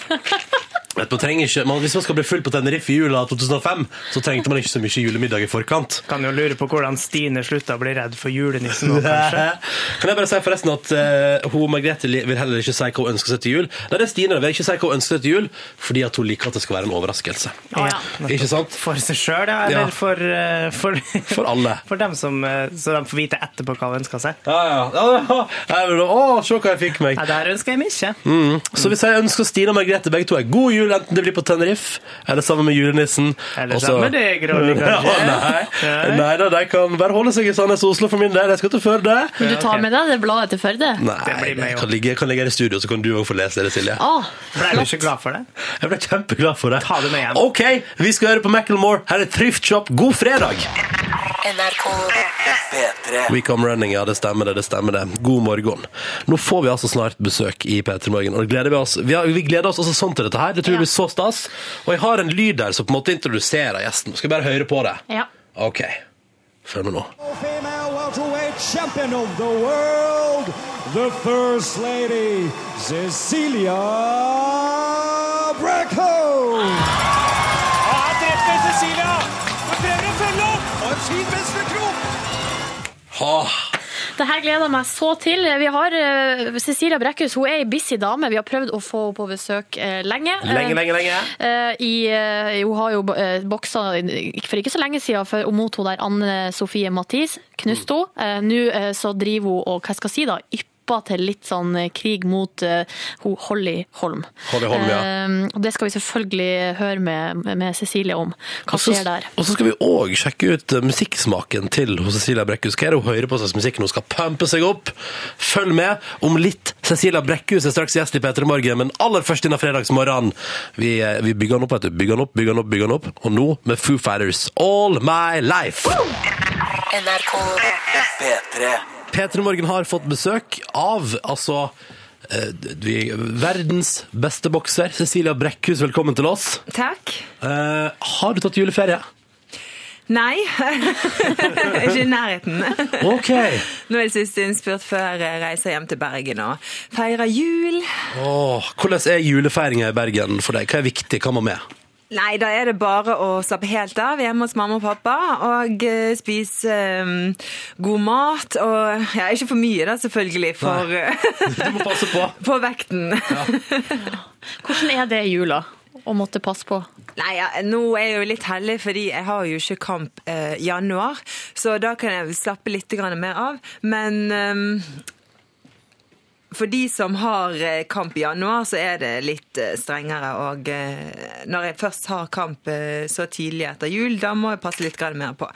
S1: Vet du, man trenger ikke, man, hvis man skal bli full på Tenerife i jula 2005, så trengte man ikke så mye julemiddag i forkant.
S3: Kan jo lure på hvordan Stine slutta å bli redd for julenissen nå, kanskje.
S1: Kan jeg bare si forresten at eh, hun Margrethe li- vil heller ikke si hva hun ønsker seg til jul. Nei, det er Stine. Hun vil ikke si hva hun ønsker seg til jul, fordi at hun liker at det skal være en overraskelse.
S2: Å, ja.
S1: Ikke sant?
S3: For seg sjøl, ja,
S1: Ja.
S3: eller for, eh, for
S1: For alle.
S3: For dem som eh, Så de får vite etterpå hva de ønsker seg.
S1: Ja, ja. ja, ja. Jeg vil, å, se hva jeg fikk meg.
S3: Nei, det her ønsker jeg meg ikke.
S1: Mm. Så hvis jeg ønsker Stine og Margrethe begge to en god jul, enten det blir på Tenerife eller sammen med julenissen
S3: Eller
S1: og så-
S3: sammen med deg, Ronny, kanskje.
S1: Ja, nei.
S3: Nei.
S1: nei da, de kan bare holde seg i Sandnes og Oslo for min del. Jeg skal til Førde.
S2: Men du tar
S3: ok.
S2: med deg det bladet til Førde?
S1: Nei,
S3: Det blir meg
S1: jeg
S3: også.
S1: kan ligge, kan ligge her i studio, så kan du òg få lese det, Silje.
S2: Ah,
S3: Ble du ikke glad for det?
S1: Jeg ble kjempeglad for det.
S3: Ta det med hjem.
S1: Ok, vi skal høre på Macklemore. Her er Thriftshop. God fredag!
S4: NRK
S1: We come running, ja, det stemmer det, det stemmer det. God morgen. Nå får vi altså snart besøk i P3 Morgen, og det gleder vi oss. Vi, har, vi gleder oss også sånn til dette her. Det tror jeg
S2: Ja.
S1: blir så stas. Og jeg har en lyd der som på en måte introduserer gjesten. Skal jeg bare høre på det?
S2: ja.
S1: Ok. Følg med nå.
S5: female welterweight champion of the world, the First Lady, Cecilia Brackhoe.
S6: Her treffer Cecilia! Hun prøver å følge opp! Og en fin venstrekrok!
S1: Åh,
S2: Det her gleder jeg meg så til. Vi har eh, Cecilia Brekkhus hun er ei busy dame. Vi har prøvd å få henne på besøk eh, lenge.
S1: lenge, lenge, lenge.
S2: Eh, I, eh, hun har jo eh, boksa for ikke så lenge siden for,
S1: Mm.
S2: mot hun der Anne Sofie Mathis. Knust henne. Eh, Nå eh, så driver hun og hva skal jeg si da, ypper hoppa til litt sånn eh, krig mot eh, ho- Holly Holm.
S1: Holly Holm, ja.
S2: Eh, og det skal vi selvfølgelig høre med, med Cecilie om. Hva
S1: Og så,
S2: skjer der?
S1: og så skal vi òg sjekke ut eh, musikksmaken til hos Cecilia Brekkhus. Hva er det hun hører på slags musikk når hun skal pumpe seg opp? Følg med om litt. Cecilia Brekkhus er straks gjest i P3 Morgen, men aller først denne fredagsmorgenen. Vi, eh, vi bygger den opp, vet du. Bygger den opp, bygger den opp, bygger den opp. Og nå med Foo Fighters All My Life.
S4: NRK
S1: P3 Morgen har fått besøk av altså eh, vi, verdens beste bokser, Cecilia Brekkhus. Velkommen til oss.
S7: Takk.
S1: Eh, har du tatt juleferie?
S7: Nei. Ikke i nærheten.
S1: OK.
S7: Nå er jeg sist innspurt før jeg reiser hjem til Bergen og feirer jul.
S1: Åh, hvordan er julefeiringa i Bergen for deg? Hva er viktig? Hva må med?
S7: Nei, da er det bare å slappe helt av hjemme hos mamma og pappa og eh, spise eh, god mat. Og ja, ikke for mye, da, selvfølgelig, for,
S1: Du må passe på.
S7: på vekten.
S2: Hvordan er det i jula å måtte passe på?
S7: Nei, ja, nå er jeg jo litt heldig, fordi jeg har jo ikke kamp eh, januar, så da kan jeg slappe litt grann mer av. Men ehm, for de som har eh, kamp i januar, så er det litt eh, strengere. Og eh, når jeg først har kamp eh, så tidlig etter jul, da må jeg passe litt grann mer på.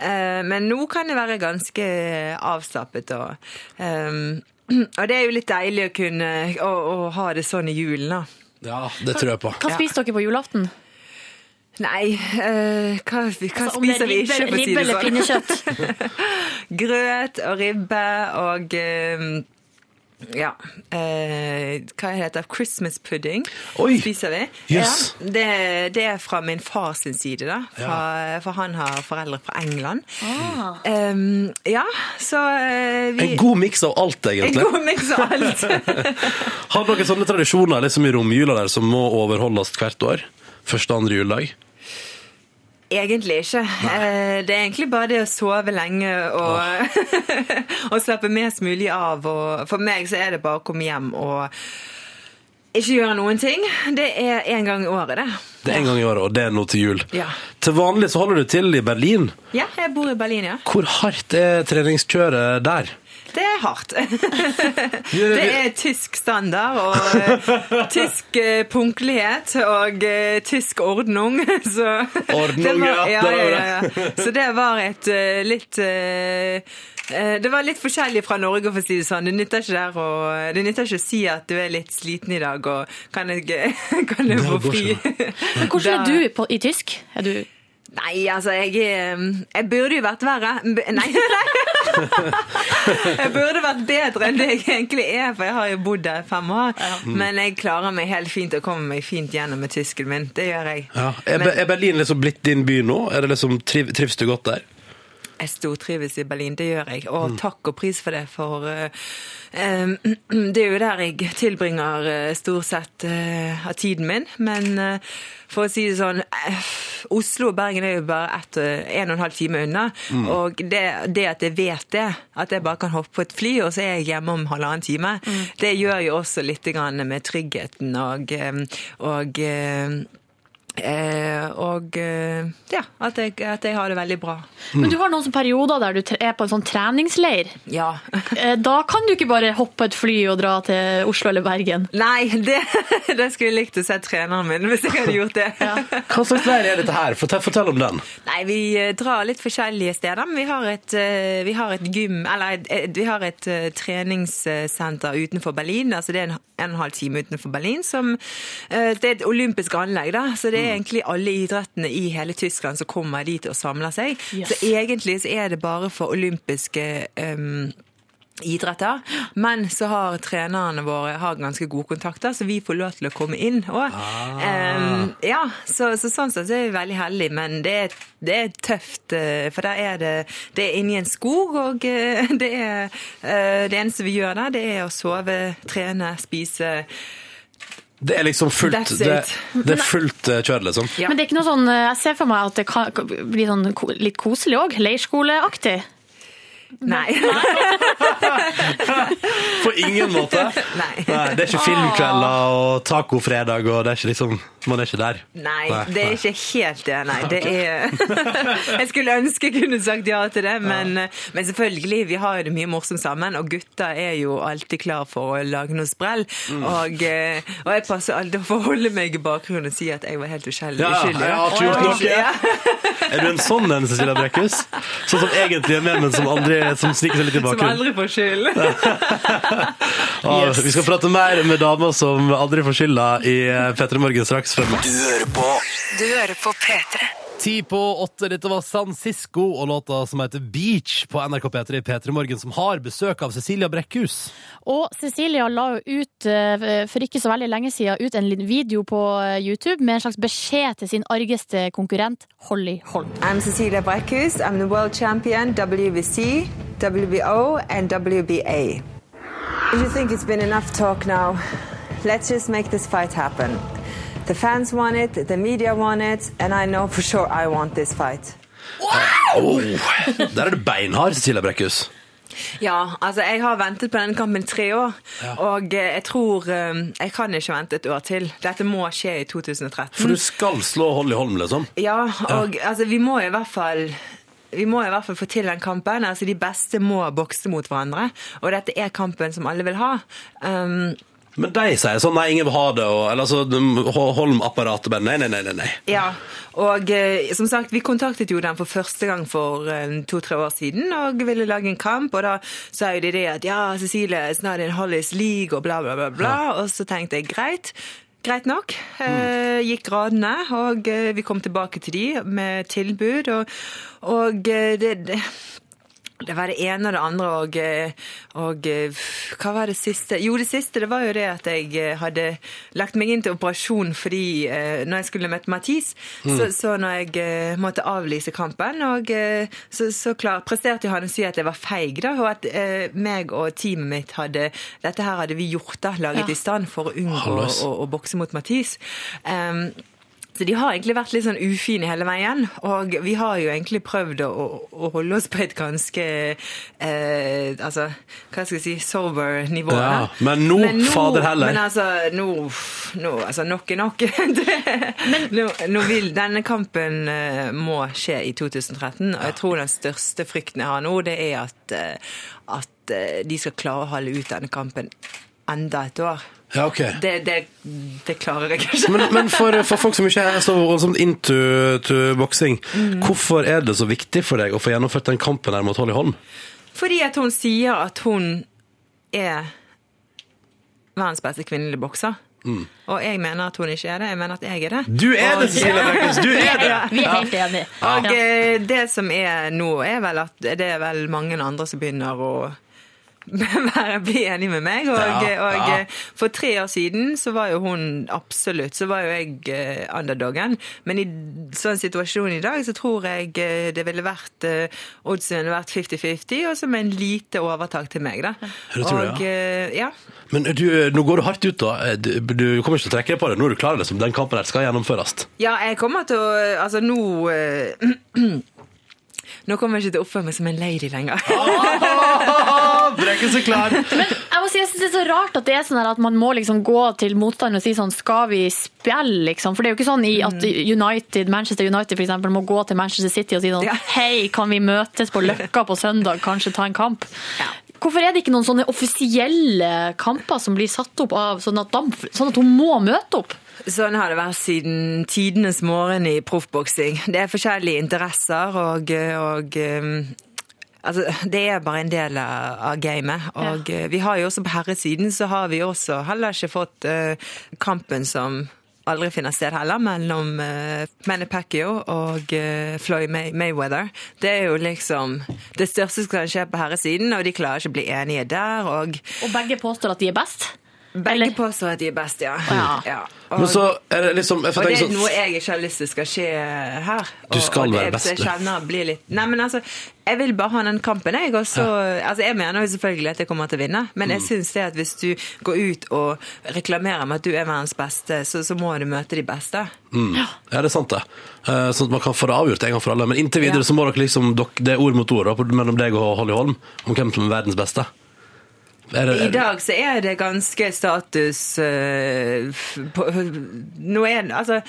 S7: Eh, men nå kan jeg være ganske eh, avslappet og ehm, Og det er jo litt deilig å kunne å, å ha det sånn i julen, da.
S1: Ja, det tror jeg på.
S2: Hva spiser dere på julaften?
S7: Nei, eh, hva, hva
S2: Altså, om det er
S7: spiser vi ikke,
S2: ribbe-
S7: for å si
S2: Ribbe
S7: det
S2: eller
S7: sånn?
S2: pinnekjøtt?
S7: Grøt og ribbe og eh, ja, eh, hva heter det? Christmas pudding
S1: Oi!
S7: spiser vi.
S1: Jøss.
S7: Ja, det, det er fra min fars side, da. Fra, For han har foreldre fra England.
S2: Ah.
S7: Em, ja, så eh, vi
S1: En god miks av alt,
S7: en
S1: egentlig.
S7: god miks av alt.
S1: Har dere sånne tradisjoner liksom i romjula der som må overholdes hvert år? Første og andre juledag?
S7: Egentlig ikke. Eh, Det er egentlig bare det å sove lenge og, og slappe mest mulig av. Og for meg så er det bare å komme hjem og ikke gjøre noen ting. Det er én gang i året, det.
S1: Det er en gang i året, og det er nå til jul.
S7: Ja.
S1: Til vanlig så holder du til i Berlin.
S7: Ja, jeg bor i Berlin, ja.
S1: Hvor hardt er treningskjøret der?
S7: Det er hardt. Det er tysk standard og eh, tysk eh, punktlighet og eh, tysk ordnung. Så
S1: Ordnung,
S7: det var,
S1: ja,
S7: ja,
S1: der var
S7: ja, ja, ja. Så det var et eh, litt eh, eh, Det var litt forskjellig fra Norge, for å si det sånn. Det nytter ikke, der å- det nytter ikke å si at du er litt sliten i dag og kan jeg, kan jeg få
S1: går
S7: fri.
S2: Men hvordan
S7: Da-
S2: er du på, i tysk? Er du
S7: Nei, altså, jeg, er- jeg burde jo vært verre. B- Nei, nei. Jeg burde vært bedre enn det jeg egentlig er, for jeg har jo bodd der i fem år. Men jeg klarer meg helt fint og kommer meg fint gjennom med tysken min. Det gjør jeg.
S1: Ja. Er, Be- er Berlin liksom blitt din by nå? Er det liksom, triv, trives du godt der?
S7: Jeg stortrives i Berlin, det gjør jeg. Og takk og pris for det, for eh, eh, det er jo der jeg tilbringer eh, stort sett eh, av tiden min. Men eh, for å si det sånn, eh, Oslo og Bergen er jo bare ett, eh, en og en halv time unna. Og det, det at jeg vet det, at jeg bare kan hoppe på et fly, og så er jeg hjemme om halvannen time, det gjør jo også litt grann med tryggheten og, eh, og eh, eh, og eh, ja, at jeg, at jeg har det veldig bra.
S2: Men du har noen sånne perioder der du tre- er på en sånn treningsleir.
S7: Ja.
S2: Eh, Da kan du ikke bare hoppe på et fly og dra til Oslo eller Bergen.
S7: Nei, det, det skulle jeg likt å se treneren min hvis jeg hadde gjort det.
S1: Hva slags leir er dette her? Fortell, fortell om den.
S7: Nei, vi eh, drar litt forskjellige steder, men vi har et, eh, vi har et gym, eller et- et- vi har et eh, treningssenter utenfor Berlin, altså det er en, en og en halv time utenfor Berlin, som eh, det er et olympisk anlegg da, så det er egentlig alle idrettene i hele Tyskland som kommer dit og samler seg.
S2: Yes.
S7: Så egentlig så er det bare for olympiske ehm, idretter, men så har trenerne våre har ganske gode kontakter, så vi får lov til å komme inn. Og, ehm, ja, så, så sånn sett så er vi veldig heldige, men det er, det er tøft, eh, for der er det, det er inni en skog, og eh, det, er, eh, det eneste vi gjør der, det er å sove, trene, spise.
S1: Det er liksom fullt,
S7: That's it.
S1: det, det er fullt eh, kjør, liksom.
S7: Ja.
S2: Men det er ikke noe sånn, eh, jeg ser for meg at det kan kan bli sånn ko- litt koselig òg. Leirskoleaktig.
S7: Nei.
S1: På ingen måte.
S7: Nei.
S1: Nei, det er ikke filmkvelder og tacofredag, og det er ikke liksom Man er ikke der.
S7: Nei,
S1: Nei,
S7: det er
S1: nei.
S7: ikke helt det. Nei, det er Jeg skulle ønske jeg kunne sagt ja til det, men, men selvfølgelig, vi har jo det mye morsomt sammen, og gutta er jo alltid klar for å lage noe sprell.
S1: Mm.
S7: Og, eh, og jeg passer alltid for å holde meg i bakgrunnen og si at jeg var helt uskyldig.
S1: Ja,
S7: uskyldig.
S1: jeg har ikke gjort noe.
S7: Ja.
S1: Er du en sånn en, Cecilia Brekkhus? Sånn som egentlig er med, men som, aldri, som sniker seg litt i
S7: Som
S1: bakgrunnen?
S7: aldri får skyld.
S1: Ja, Vi skal prate mer med damer som aldri får skylda i eh, P3 Morgen straks. Før meg.
S4: Du hører på P3.
S1: Ti på åtte, dette var San Cisco og låta som heter Beach på NRK P3 i P3 Morgen, som har besøk av Cecilia Brekkhus.
S2: Og Cecilia la jo ut, eh, for ikke så veldig lenge siden, ut en liten video på eh, YouTube med en slags beskjed til sin argeste konkurrent, Holly Holm.
S7: I'm Cecilia Brekkhus. I'm the world champion WBC, WBO, and WBA. If you think it's been enough talk now, let's just make this fight happen. The fans want it, the media want it, and I know for sure I want this fight.
S1: Der er du beinhard, Cecilia Brekkhus.
S7: Ja, altså jeg har ventet på denne kampen i tre år, og eh, jeg tror eh, jeg kan ikke vente et år til. Dette må skje i 2013.
S1: For du skal slå Holly Holm, liksom?
S7: Ja, og altså, vi må i hvert fall vi må i hvert fall få til den kampen. altså De beste må bokse mot hverandre. Og dette er kampen som alle vil ha. Um,
S1: Men de sier sånn, nei, ingen vil ha det, og, eller altså, de- Ho- Holm-apparatet bare, nei, nei, nei, nei, nei.
S7: ja, Og eh, som sagt, vi kontaktet jo den for første gang for eh, to-tre år siden og ville lage en kamp. Og da sa jo de det at ja, Cecilie it's not in Hollies league og bla, bla, bla. bla. Og så tenkte jeg greit. Greit nok. Eh, gikk radene, og eh, vi kom tilbake til de med tilbud. Og, og eh, det, det Det var det ene og det andre, og, eh, og eh, hva var det siste? Jo, det siste det var jo det at jeg eh, hadde lagt meg inn til operasjon fordi eh, når jeg skulle møte Mathis, så, så når jeg eh, måtte avlyse kampen, og eh, så, så klar, presterte han å si at jeg var feig, da, og at eh, meg og teamet mitt hadde Dette her hadde vi gjort, da, laget
S2: Ja.
S7: i stand for å unngå
S1: Hallois.
S7: å, å bokse mot Mathis. Em, så de har egentlig vært litt sånn ufine hele veien, og vi har jo egentlig prøvd å, å- å holde oss på et ganske eh, Altså, hva skal jeg si sober nivå.
S1: Ja,
S7: da.
S1: men nå, fader heller.
S7: Men altså, nå, nå altså, Nok er nok. det, nå, nå vil Denne kampen eh, må skje i 2013, og jeg tror den største frykten jeg har nå, det er at, eh, at eh, de skal klare å holde ut denne kampen enda et år.
S1: Ja, ok.
S7: Det, det, det klarer jeg ikke.
S1: Men, men for, for folk som ikke er så voldsomt into to boksing,
S7: Mm.
S1: hvorfor er det så viktig for deg å få gjennomført den kampen her mot Holly Holm?
S7: Fordi at hun sier at hun er verdens beste kvinnelige bokser. Og jeg mener at hun ikke er det. Jeg mener at jeg er det.
S1: Mm. Du er det, Cecilia Brekkhus! Du er det!
S2: Vi er helt enige.
S7: Og
S2: Ja.
S7: eh, det som er nå, er vel at det er vel mange andre som begynner å være, bli enig med meg. Og,
S1: Ja,
S7: og
S1: ja.
S7: eh, for tre år siden så var jo hun absolutt Så var jo jeg eh, underdogen. Men i sånn situasjon i dag så tror jeg eh, det ville vært eh, Oddsen ville vært 50-50, og som en lite overtak til meg, da.
S1: det tror jeg,
S7: og,
S1: ja.
S7: eh, ja.
S1: Men du, nå går du hardt ut, da. Du, du kommer ikke til å trekke deg på det. Nå er du klar, liksom. Den kampen her skal gjennomføres.
S7: Ja, jeg kommer til å Altså, nå eh, Nå kommer jeg ikke til å oppføre meg som en lady lenger.
S1: Brekkhus er klar!
S2: Men jeg må si, jeg synes det er så rart at det er sånn her at man må liksom gå til motstanden og si sånn, skal vi spille, liksom? For det er jo ikke sånn i at United, Manchester United for eksempel, må gå til Manchester City og si sånn,
S7: Mm. Ja.
S2: hei, kan vi møtes på Løkka på søndag, kanskje ta en kamp?
S7: Ja.
S2: Hvorfor er det ikke noen sånne offisielle kamper som blir satt opp av sånn at, damp, sånn at hun må møte opp?
S7: Sånn har det vært siden tidenes morgen i proffboksing. Det er forskjellige interesser og, og um, Altså, det er bare en del av av gamet. Og eh, vi har jo også på herresiden så har vi også heller ikke fått eh, kampen som aldri finner sted heller, mellom uh, Manny Pacquiao og eh, Floyd May Mayweather. Det er jo liksom Det største som kan skje på herresiden, og de klarer ikke å bli enige der. og
S2: Og begge påstår at de er best?
S7: Begge
S2: Eller-
S7: påstår at de er best, ja.
S2: Ja.
S7: Og,
S1: Men så er det liksom jeg
S7: og
S1: får
S7: det
S1: tenke
S7: er noe
S1: sånn,
S7: jeg ikke har lyst til skal skje her.
S1: Du skal
S7: og, og det
S1: være
S7: er- så
S1: best, du.
S7: Jeg kjenner blir litt Nei, men altså, jeg vil bare ha den kampen, jeg. Og så Altså, jeg mener jo selvfølgelig at jeg kommer til å vinne, men
S1: Mm.
S7: jeg syns det at hvis du går ut og reklamerer med at du er verdens beste, så, så må du møte de beste.
S1: Mm. Ja, det er sant, det. Eh, Sånn at man kan få det avgjort en gang for alle. Men inntil videre
S7: Ja.
S1: så må dere liksom dere, Det er ord mot ord da, på- mellom deg og Holly Holm om hvem som er verdens beste. Er det,
S7: I dag så er det ganske status eh, f- på, Nå er det Altså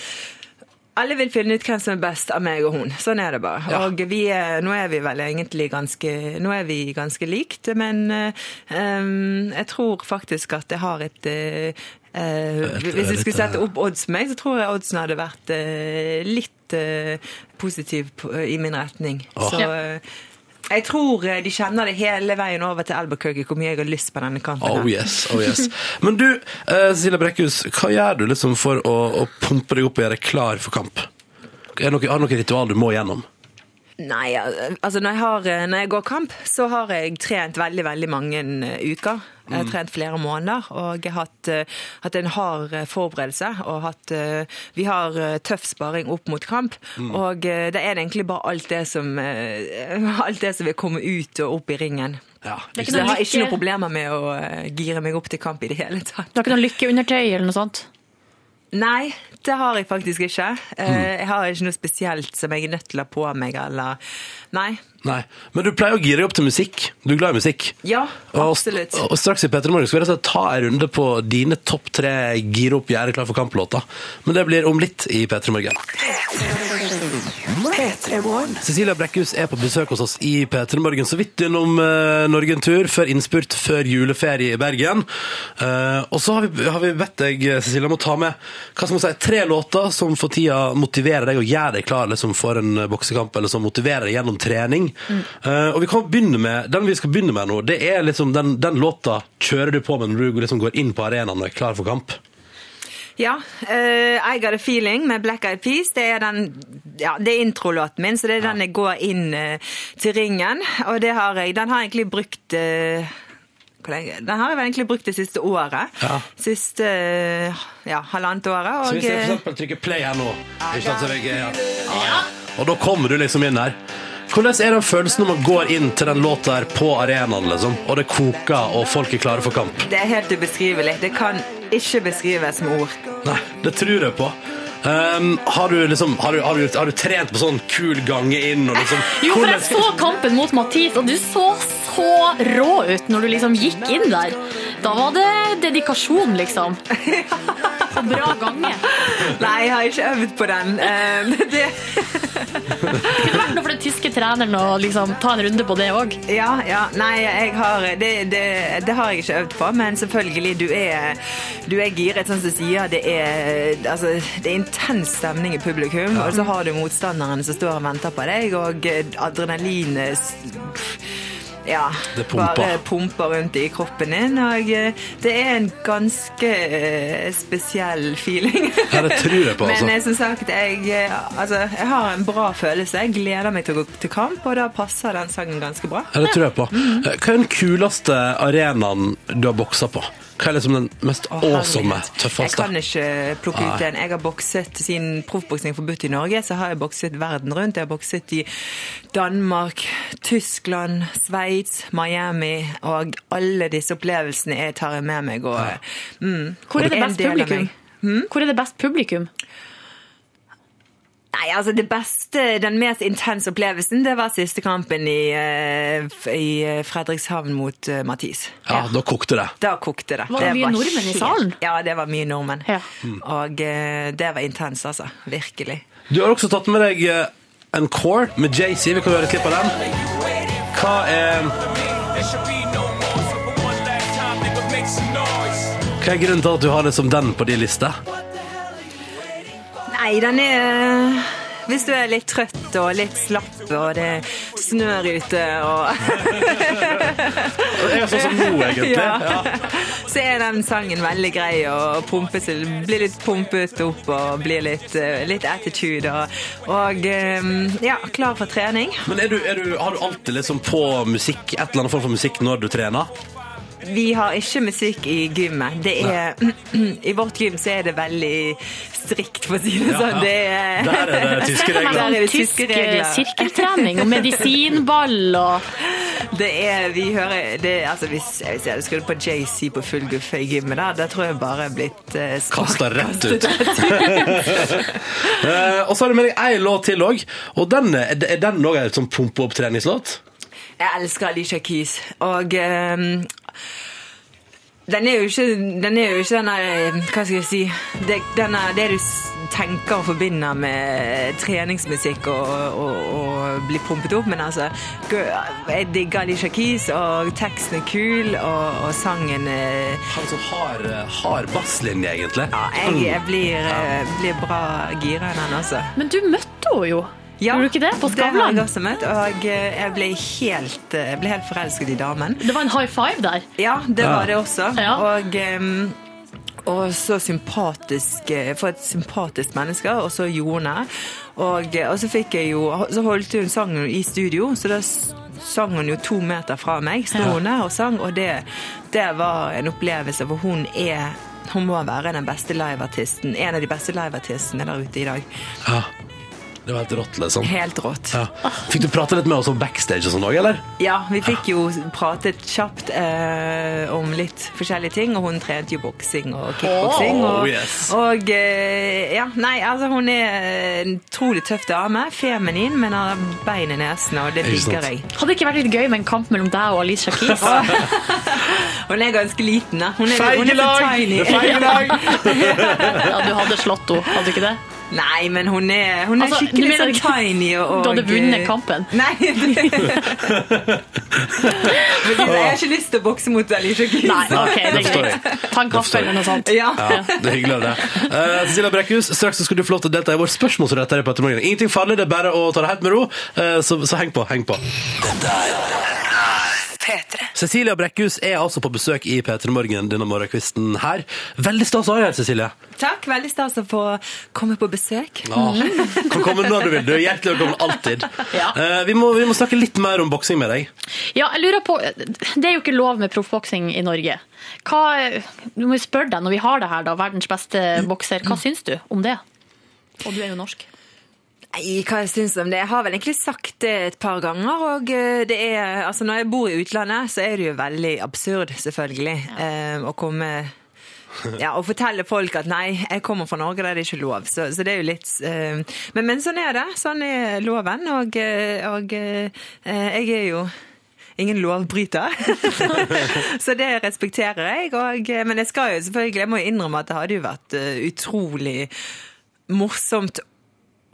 S7: alle vil finne ut hvem som er best av meg og hun. Sånn er det bare.
S1: Ja.
S7: Og vi er, nå er vi vel egentlig ganske Nå er vi ganske likt, men eh, em, jeg tror faktisk at jeg har et eh, eh, Hvis jeg skulle sette opp odds med meg, så tror jeg oddsen hadde vært eh, litt eh, positiv på, i min retning.
S1: Åh.
S7: Så
S2: Ja.
S7: eh, jeg tror eh, de kjenner det hele veien over til Albuquerque, hvor mye jeg har lyst på denne kampen. her.
S1: Oh yes, oh yes. Men du, eh, Cecilie Brekkhus, hva gjør du liksom for å, å pumpe deg opp og gjøre deg klar for kamp? Er det noe, har du noe ritual du må gjennom?
S7: Nei, al- altså når jeg, har, eh, når jeg går kamp, så har jeg trent veldig, veldig mange eh, uker. Jeg
S1: Mm.
S7: har trent flere måneder, og jeg har hatt, eh, hatt en hard eh, forberedelse. og hatt, eh, Vi har eh, tøff sparing opp mot kamp,
S1: Mm.
S7: og eh, da er det egentlig bare alt det som, eh, alt det som vil komme ut og opp i ringen.
S1: Ja,
S2: Det er ikke
S7: Så jeg
S2: noe
S7: har ikke
S2: lykke,
S7: noen problemer med å eh, gire meg opp til kamp i det hele tatt.
S2: det er ikke noe lykkeundertøy eller noe sånt?
S7: Nei, det har jeg faktisk ikke. Eh,
S1: Mm.
S7: Jeg har ikke noe spesielt som jeg er nødt til å ha på meg, eller Nei.
S1: Nei. Men du pleier å gire deg opp til musikk. Du er glad i musikk.
S7: Ja,
S1: Og-
S7: absolutt.
S1: Og, straks i Petter Morgen skal vi rett og slett ta en runde på dine topp tre gire opp, gjøre klar for kamp-låter. Men det blir om litt i Petter Morgen. Cecilia Brekkhus er på besøk hos oss i P3 Morgen, så vidt gjennom eh, Norge en tur, før innspurt, før juleferie i Bergen. Eh, og så har vi, har vi bedt deg, Cecilia, om å ta med hva som må si, tre låter som for tida motiverer deg og gjør deg klar liksom, for en eh, boksekamp, eller som motiverer deg gjennom trening. Eh, og vi kan begynne med, Den vi skal begynne med nå, det er liksom den, den låta kjører du på med når du liksom går inn på arenaen og er klar for kamp.
S7: Ja. eh, I Got A Feeling med Black Eyed Peas. Det er, den, ja, det er introlåten min, så det er den jeg går inn eh, til ringen. Og det har jeg, den har jeg egentlig brukt eh, hvor lenge? Den har jeg vel egentlig brukt det siste året.
S1: Ja.
S7: Siste eh, ja, halvannet året. Og, eh,
S1: Så hvis jeg for eksempel trykker play her nå ikke sant, så er jeg, ja. Ja, ja. Og da kommer du liksom inn her Hvordan er den følelsen når man går inn til den låta her på arenaen liksom Og det koker og folk er klare for kamp
S7: eh, det er helt ubeskrivelig. Det kan ikke beskrives med ord.
S1: Nei, det tror jeg på Ehm, har, du liksom, har, du, har, du, har du trent på sånn kul gange inn og liksom,
S2: Jo, for jeg
S1: hvordan-
S2: så kampen mot Mathis, og du så så rå ut når du liksom gikk inn der. Da var det dedikasjon, liksom. Så bra gange. Det
S7: Nei, jeg har ikke øvd på den. Eh, det,
S2: kunne vært noe for den tyske treneren å liksom ta en runde på det òg.
S7: Ja, ja. Nei, jeg har, det, det, det har jeg ikke øvd på, men selvfølgelig, du er, du er giret, sånn som sier. Det er, altså, det er intens stemning i publikum, og så har du motstanderen som står og venter på deg, og adrenalin eh, s- ja,
S1: Det pumper.
S7: bare pumper rundt i kroppen din, og eh, det er en ganske eh, spesiell feeling.
S1: Ja, det tror jeg på, altså.
S7: Men eh, som sagt, jeg, eh, altså, jeg har en bra følelse. Jeg gleder meg til å gå til kamp, og da passer den sangen ganske bra.
S1: Ja, det tror jeg på Eh, Hva er den kuleste arenaen du har bokset på? Hva er liksom den mest
S7: Å,
S1: awesome,
S7: herlighet. Jeg
S1: tøffeste?
S7: kan ikke plukke ut
S1: altså. Nei.
S7: en. Jeg har bokset siden proffboksing er forbudt i Norge, så har jeg bokset verden rundt. Jeg har bokset i Danmark, Tyskland, Sveits, Miami, og alle disse opplevelsene jeg tar jeg med meg. Og, mm,
S2: Hvor er det
S7: en
S2: best
S7: del av meg.
S2: publikum? Hmm? Hvor er det best publikum?
S7: Nei, altså det beste, den mest intense opplevelsen, det var siste kampen i, eh, f- i eh, Fredrikshavn mot eh, Mathis.
S1: Ja, da kokte det
S7: Da kokte det.
S2: Var det mye nordmenn i
S7: helt-
S2: salen?
S7: Ja, det var mye nordmenn.
S2: Ja.
S7: Og eh, det var intenst, altså. Virkelig.
S1: Du har også tatt med deg eh, en core med Jay-Z. Vi kan høre et klipp av den. Hva er, hva er grunnen til at du har liksom den på din liste?
S7: Nei, den er eh, Hvis du er litt trøtt og litt slapp, og det snør ute, og,
S1: Jeg er sånn som nå, egentlig.
S7: Ja. så er den sangen veldig grei å pumpe til. Bli litt pumpet opp og bli litt, eh, litt attitude. Og, og eh, ja, klar for trening.
S1: Men er du, er du, har du alltid liksom på musikk, et eller annet form for musikk når du trener?
S7: vi har ikke musikk i gymmet. Det er, I vårt gym så er det veldig strikt, for å si det
S1: Ja, ja.
S7: sånn. Det er,
S1: Der er det tyske
S2: Ser for
S1: regler.
S2: meg
S7: Der er
S2: sånn
S7: det
S2: tysk
S7: tyske regler.
S2: eh, sirkeltrening og medisinball og
S7: Det er, vi hører det, altså Hvis jeg, hvis jeg skulle på JC på full guffe i gymmet, da, da tror jeg bare jeg er blitt eh, spark-
S1: Kasta rett ut. Eh, og så har du med deg ei låt til òg. Og den er er den òg en sånn pumpe-opp-treningslåt?
S7: Jeg elsker Alicia Keys, og ehm, den er jo ikke den er jo ikke den der, Hva skal jeg si det, den er, det du s- tenker og forbinder med eh, treningsmusikk og, og, og bli pumpet opp, men altså gø- Jeg digger Alicia Keys, og teksten er kul, og, og sangen er
S1: Han som har eh, hard basslinje, egentlig.
S7: ja, jeg, jeg blir, eh, blir bra gira av den også.
S2: Men du møtte henne jo. Gjorde du ikke det? På
S7: Det har
S2: Skavlan?
S7: jeg
S2: Det,
S7: også møtt, og eh, jeg ble helt, eh, jeg ble helt forelsket i damen.
S2: var en high five der.
S7: Ja, det var det også.
S2: Ja.
S7: Og, em, og så sympatisk eh, For et sympatisk menneske, og så Jone. Og, eh, og så fikk jeg jo Så holdt hun sangen i studio, så da s- sang hun jo to meter fra meg. Sto hun der og sang, og det, det var en opplevelse, for hun er hun må være den beste liveartisten, en av de beste liveartistene der ute i dag.
S1: Ja. Det var helt rått, liksom.
S7: Helt rått.
S1: Ja. Fikk du prate litt med oss om backstage og sånn òg, eller?
S7: Ja, vi fikk jo pratet kjapt eh, om litt forskjellige ting, og hun trente jo boksing og kickboksing.
S1: Oh,
S7: og
S1: yes.
S7: og eh, ja, nei, altså hun er en utrolig tøff dame. Feminin, men har bein i nesen, og det
S1: Ikke sant.
S7: liker jeg.
S2: Hadde det ikke vært litt gøy med en kamp mellom deg og Alicia Keys?
S7: Hun er ganske liten, da. Hun er, hun er så
S1: Feigelag!
S7: tiny.
S1: Det er feigelag!
S2: Ja, du hadde slått henne, hadde du ikke det?
S7: Nei, men hun er, hun er
S2: Altså, du
S7: skikkelig
S2: mener
S7: sånn tiny. Og, eh,
S2: Du hadde vunnet kampen.
S7: Nei. det- Men jeg har ikke lyst til å bokse mot Alicia Keys.
S2: Nei, ok, det
S1: det
S2: er
S1: forstår
S2: greit.
S1: jeg.
S2: Ta en kaffe
S1: forstår jeg.
S2: eller noe sånt.
S7: Ja.
S1: Ja, det er hyggelig det. Eh, Cecilia Brekkhus, straks så skal du få lov til å delta i vårt spørsmål. Så dette er på etter morgenen. Ingenting farlig, det er bare å ta det helt med ro. Eh, så, så heng på, heng på.
S4: P3.
S1: Cecilia Brekkhus er altså på besøk i P3 Morgen denne morgenkvisten her. Veldig stas å ha deg her, Cecilie.
S7: Takk, veldig stas å få komme på besøk.
S1: Ja. Mm. Kan komme når du vil. Du er hjertelig velkommen alltid.
S2: Ja.
S1: Eh, vi, må, vi må snakke litt mer om boksing med deg.
S2: Ja, jeg lurer på, Det er jo ikke lov med proffboksing i Norge. Hva, du må jo spørre deg, når vi har det her, da, verdens beste bokser, hva syns du om det? Og du er jo norsk.
S7: Nei, hva jeg syns om det? Jeg har vel egentlig sagt det et par ganger. og eh, det er, altså Når jeg bor i utlandet, så er det jo veldig absurd, selvfølgelig, eh, å komme ja, og fortelle folk at nei, jeg kommer fra Norge, der er det ikke lov. Så, så det er jo litt eh, men, men sånn er det. Sånn er loven. Og, eh, og eh, jeg er jo ingen lovbryter. så det respekterer jeg. Og, eh, men jeg skal jo selvfølgelig, jeg må jo innrømme at det hadde jo vært eh, utrolig morsomt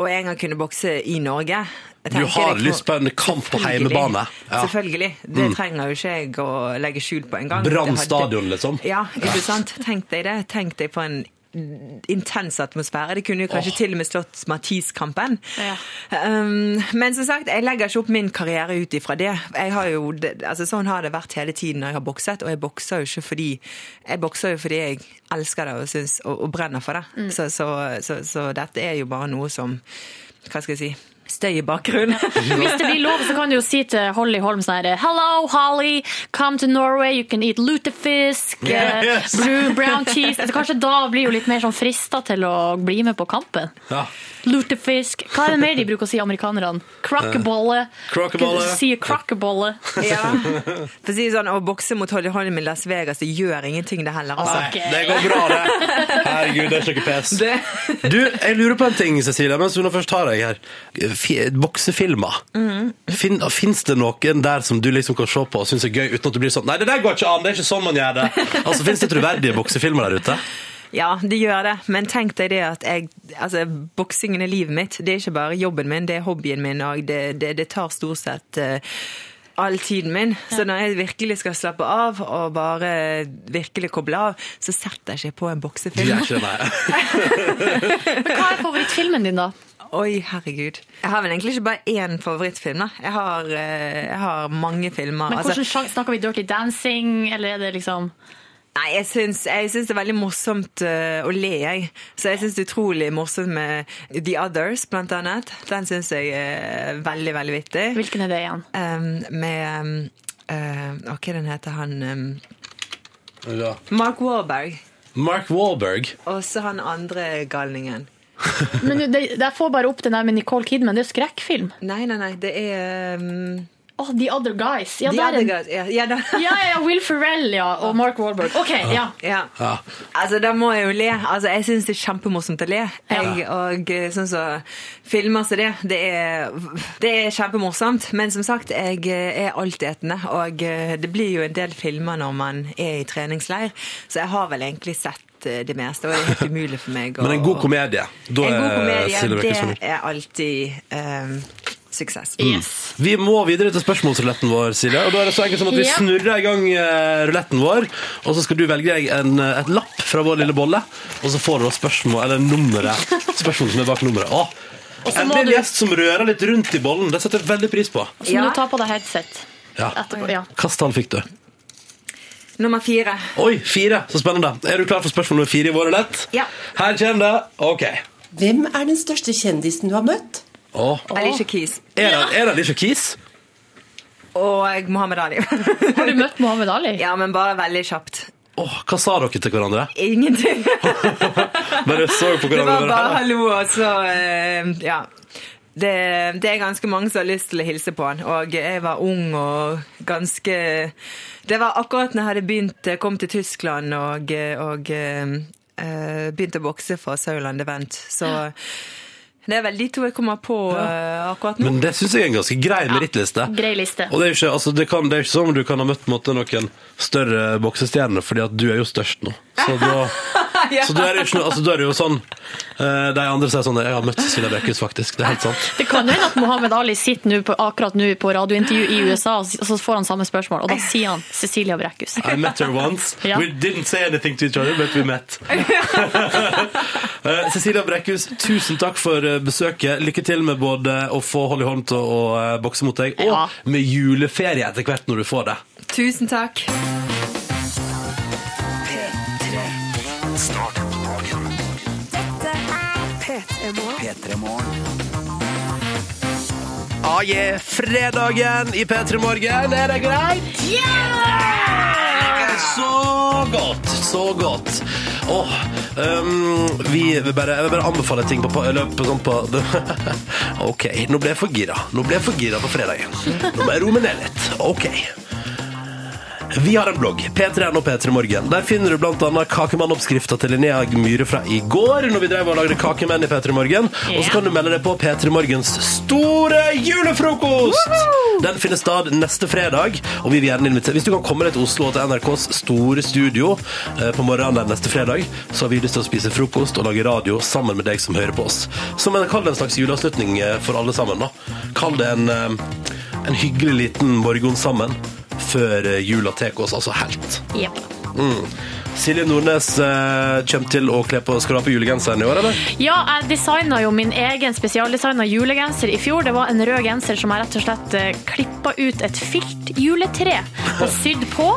S7: å en gang kunne bokse i Norge. Jeg
S1: Du
S7: tenker
S1: har
S7: det kan-
S1: lyst på en kamp på
S7: Selvfølgelig.
S1: hjemmebane. Ja. Mm.
S7: Selvfølgelig. Det trenger jo ikke jeg å legge skjul på engang.
S1: Brann
S7: Det hadde-
S1: stadion, liksom.
S7: Ja, ikke sant. Tenk deg det. Tenk deg på en intens atmosfære. Det kunne jo kanskje
S1: Åh.
S7: til og med slått Mathis-kampen.
S2: Ja.
S7: Um, men som sagt, jeg legger ikke opp min karriere ut ifra det. Jeg har jo, det- altså, sånn har det vært hele tiden når jeg har bokset, og jeg bokser jo ikke fordi jeg, bokser jo fordi jeg elsker det og, syns, og, og brenner for det. Så, så, så, så dette er jo bare noe som Hva skal jeg si? Støy i bakgrunnen.
S2: Hvis det blir lov, så kan du jo si til Holly Holm sånn her Hello, Holly, come to Norway, you can eat lutefisk,
S1: Yeah,
S2: eh,
S1: yes.
S2: blue, brown cheese Altså, Kanskje da blir hun litt mer sånn frista til å bli med på kampen.
S1: Ja.
S2: Lutefisk. Hva er det mer de bruker å si, amerikanerne?
S1: Eh,
S2: Crockebolle.
S1: Crockebolle.
S2: Sier crockebolle.
S7: Ja. For å si det sånn, å bokse mot Holly Holm i Las Vegas, det gjør ingenting det heller, altså.
S1: Nei, det går bra, det. Herregud, det er ikke noe pes.
S7: Det,
S1: Du, jeg lurer på en ting, Cecilia, mens hun først har deg her. Fi- Boksefilmer.
S7: Mm.
S1: Fin, Fins det noen der som du liksom kan se på og synes er gøy, uten at du blir sånn Nei, det der går ikke an! Det er ikke sånn man gjør det! Altså, Fins det troverdige boksefilmer der ute?
S7: ja, det gjør det, men tenk deg det at jeg, altså, boksingen er livet mitt. Det er ikke bare jobben min, det er hobbyen min, og det, det, det tar stort sett eh, all tiden min. Så når jeg virkelig skal slappe av og bare virkelig koble av, så setter jeg ikke på en
S1: Du gjør
S7: boksefilm.
S1: ikke det, nei.
S2: Men hva er favorittfilmen din, da?
S7: Oi, herregud. Jeg har vel egentlig ikke bare én favorittfilm, da. Jeg har, eh, jeg har mange filmer.
S2: Men
S7: altså-
S2: hvordan sjang- Snakker vi Dirty Dancing, eller er det liksom
S7: Nei, jeg syns, jeg syns det er veldig morsomt eh, å le, jeg. Så jeg syns det er utrolig morsomt med The Others, blant annet. Den syns jeg er veldig, veldig vittig.
S2: Hvilken er det igjen?
S7: Um, med um, eh, Hva er den heter han um,
S1: Ja.
S7: Mark Warberg.
S1: Mark Wahlberg.
S7: Og så han andre galningen.
S2: Men det, jeg får bare opp den der med Nicole Kidman. Det er jo skrekkfilm.
S7: Nei, nei, nei, det er um,
S2: Oh, The Other Guys. Ja,
S7: The
S2: der er
S7: Other
S2: den.
S7: Guys. Ja, ja, da.
S2: Ja, ja, ja, Will Ferrell ja, og Mark Wahlberg. Ok, ja.
S7: Ja.
S1: Ja.
S7: Altså, da må jeg jo le. Altså, jeg syns det er kjempemorsomt å le. Jeg, og eh, sånn så filmer som det, det er, det er kjempemorsomt. Men som sagt, jeg eh, er altetende, og eh, det blir jo en del filmer når man er i treningsleir, så jeg har vel egentlig sett eh, det meste, og det er helt umulig for meg å
S1: Men en god komedie. Da
S7: En god
S1: er Silje
S7: komedie,
S1: Brekkhus-
S7: det er alltid eh, suksess.
S1: Mm.
S2: Yes.
S1: Vi må videre til spørsmålsruletten vår, Silje. Og da er det så enkelt som at vi
S2: Ja.
S1: snurrer i gang eh, ruletten vår, og så skal du velge deg en, eh, et lapp fra vår lille bolle, og så får du da spørsmål, eller nummeret, spørsmålet som er bak nummeret. Åh.
S2: så
S1: En
S2: må
S1: del
S2: du-
S1: gjest som rører litt rundt i bollen, det setter jeg veldig pris på.
S2: Og så må
S7: Ja.
S2: du ta på deg headset
S1: Ja.
S2: etterpå. Ja.
S1: Hvilket tall fikk du?
S7: Nummer fire.
S1: Oi, fire. Så spennende. Er du klar for spørsmål nummer fire i vår rulett?
S7: Ja.
S1: Her kommer det. Ok.
S8: Hvem er den største kjendisen du har møtt?
S1: Åh.
S7: Alicia Keys
S1: Er det, er det Alicia Keys?
S7: og Mohammed Ali.
S2: Har du møtt Mohammed Ali?
S7: ja, men bare veldig kjapt.
S1: Åh, hva sa dere til hverandre?
S7: Ingenting.
S1: Bare så på
S7: Det
S1: hverandre.
S7: var bare hallo, og så eh, Ja. Det, det er ganske mange som har lyst til å hilse på han, og jeg var ung og ganske Det var akkurat når jeg hadde begynt, jeg kom til Tyskland og, og eh, eh, begynte å bokse for Sauland Event, så det er vel de to jeg kommer på eh, akkurat nå.
S1: Men det syns jeg er en ganske grei merittliste.
S2: Grei liste.
S1: Og det er jo ikke, altså, det kan, det er jo ikke sånn om du kan ha møtt på en måte, noen større boksestjerner, fordi at du er jo størst nå. Så da,
S7: Ja.
S1: så da, er, det jo ikke, noe- altså, da er det jo sånn eh, De andre sier sånn Jeg har møtt Silja Brekkhus, faktisk. Det er helt sant.
S2: Det kan jo hende at Mohammed Ali sitter nå på, akkurat nå på radiointervju i USA, og så får han samme spørsmål, og da sier han Cecilia Brekkhus.
S1: I met her once.
S2: Ja.
S1: We didn't say anything to each other, but we met. Eh, Cecilia Brekkhus, tusen takk for eh, besøket. Lykke til med både å få Holly Holm til å eh, bokse mot deg, og
S2: Ja.
S1: med juleferie etter hvert når du får det.
S7: Tusen takk.
S1: Ah, yeah. Fredagen i P3 Morgen, er det greit? Så godt, så godt. Åh, ehm, vi vil bare, jeg vil bare anbefale ting på, på, løpet sånn på Ok, nå ble jeg for gira. Nå ble jeg for gira på fredagen. Nå må jeg roe meg ned litt. Ok. Vi har en blogg, p3.no p3morgen. Der finner du bl.a. kakemannoppskrifta til Linnea Myhre fra i går, når vi drev og lagde kakemenn i P3 Morgen. Og så
S2: Ja.
S1: kan du melde deg på P3 Morgens store julefrokost! Den finner stad neste fredag, og vi vil gjerne invitere Hvis du kan komme deg til Oslo og til NRKs store studio eh, på morgenen der neste fredag, så har vi lyst til å spise frokost og lage radio sammen med deg som hører på oss. Så men kall det en slags juleavslutning eh, for alle sammen, da. Kall det en, eh, en hyggelig liten morgen sammen før eh, jula tar oss altså helt.
S2: Jep.
S1: Silje Nordnes eh, kommer til å kle på Skal du ha på julegenseren i år, eller?
S2: Ja, jeg designa jo min egen spesialdesigna julegenser i fjor. Det var en rød genser som jeg rett og slett klippa ut et filt juletre og sydd på.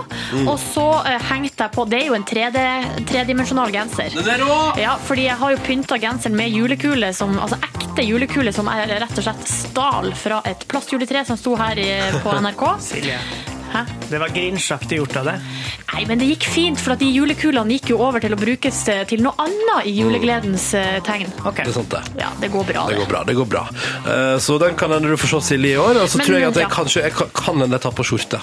S2: Og så eh, hengte jeg på Det er jo en 3D tredimensjonal genser. Ja, fordi jeg har jo pynta genseren med julekule, som, altså ekte julekule, som jeg rett og slett stal fra et plastjuletre som sto her i, på NRK.
S3: Silje,
S2: Hæ?
S3: det var grinsjaktig gjort av deg.
S2: Nei, men det gikk fint, for at de julekulene gikk jo over til å brukes til noe annet i julegledens eh, tegn.
S3: Ok.
S1: Det er sant, det.
S2: Ja, det går bra,
S1: Det
S2: det.
S1: går bra. det går bra Eh, Så den kan hende du får se Silje i år. Og så
S2: Men,
S1: tror jeg at jeg
S2: ja.
S1: kanskje jeg kan- kan hende jeg tar på skjorte.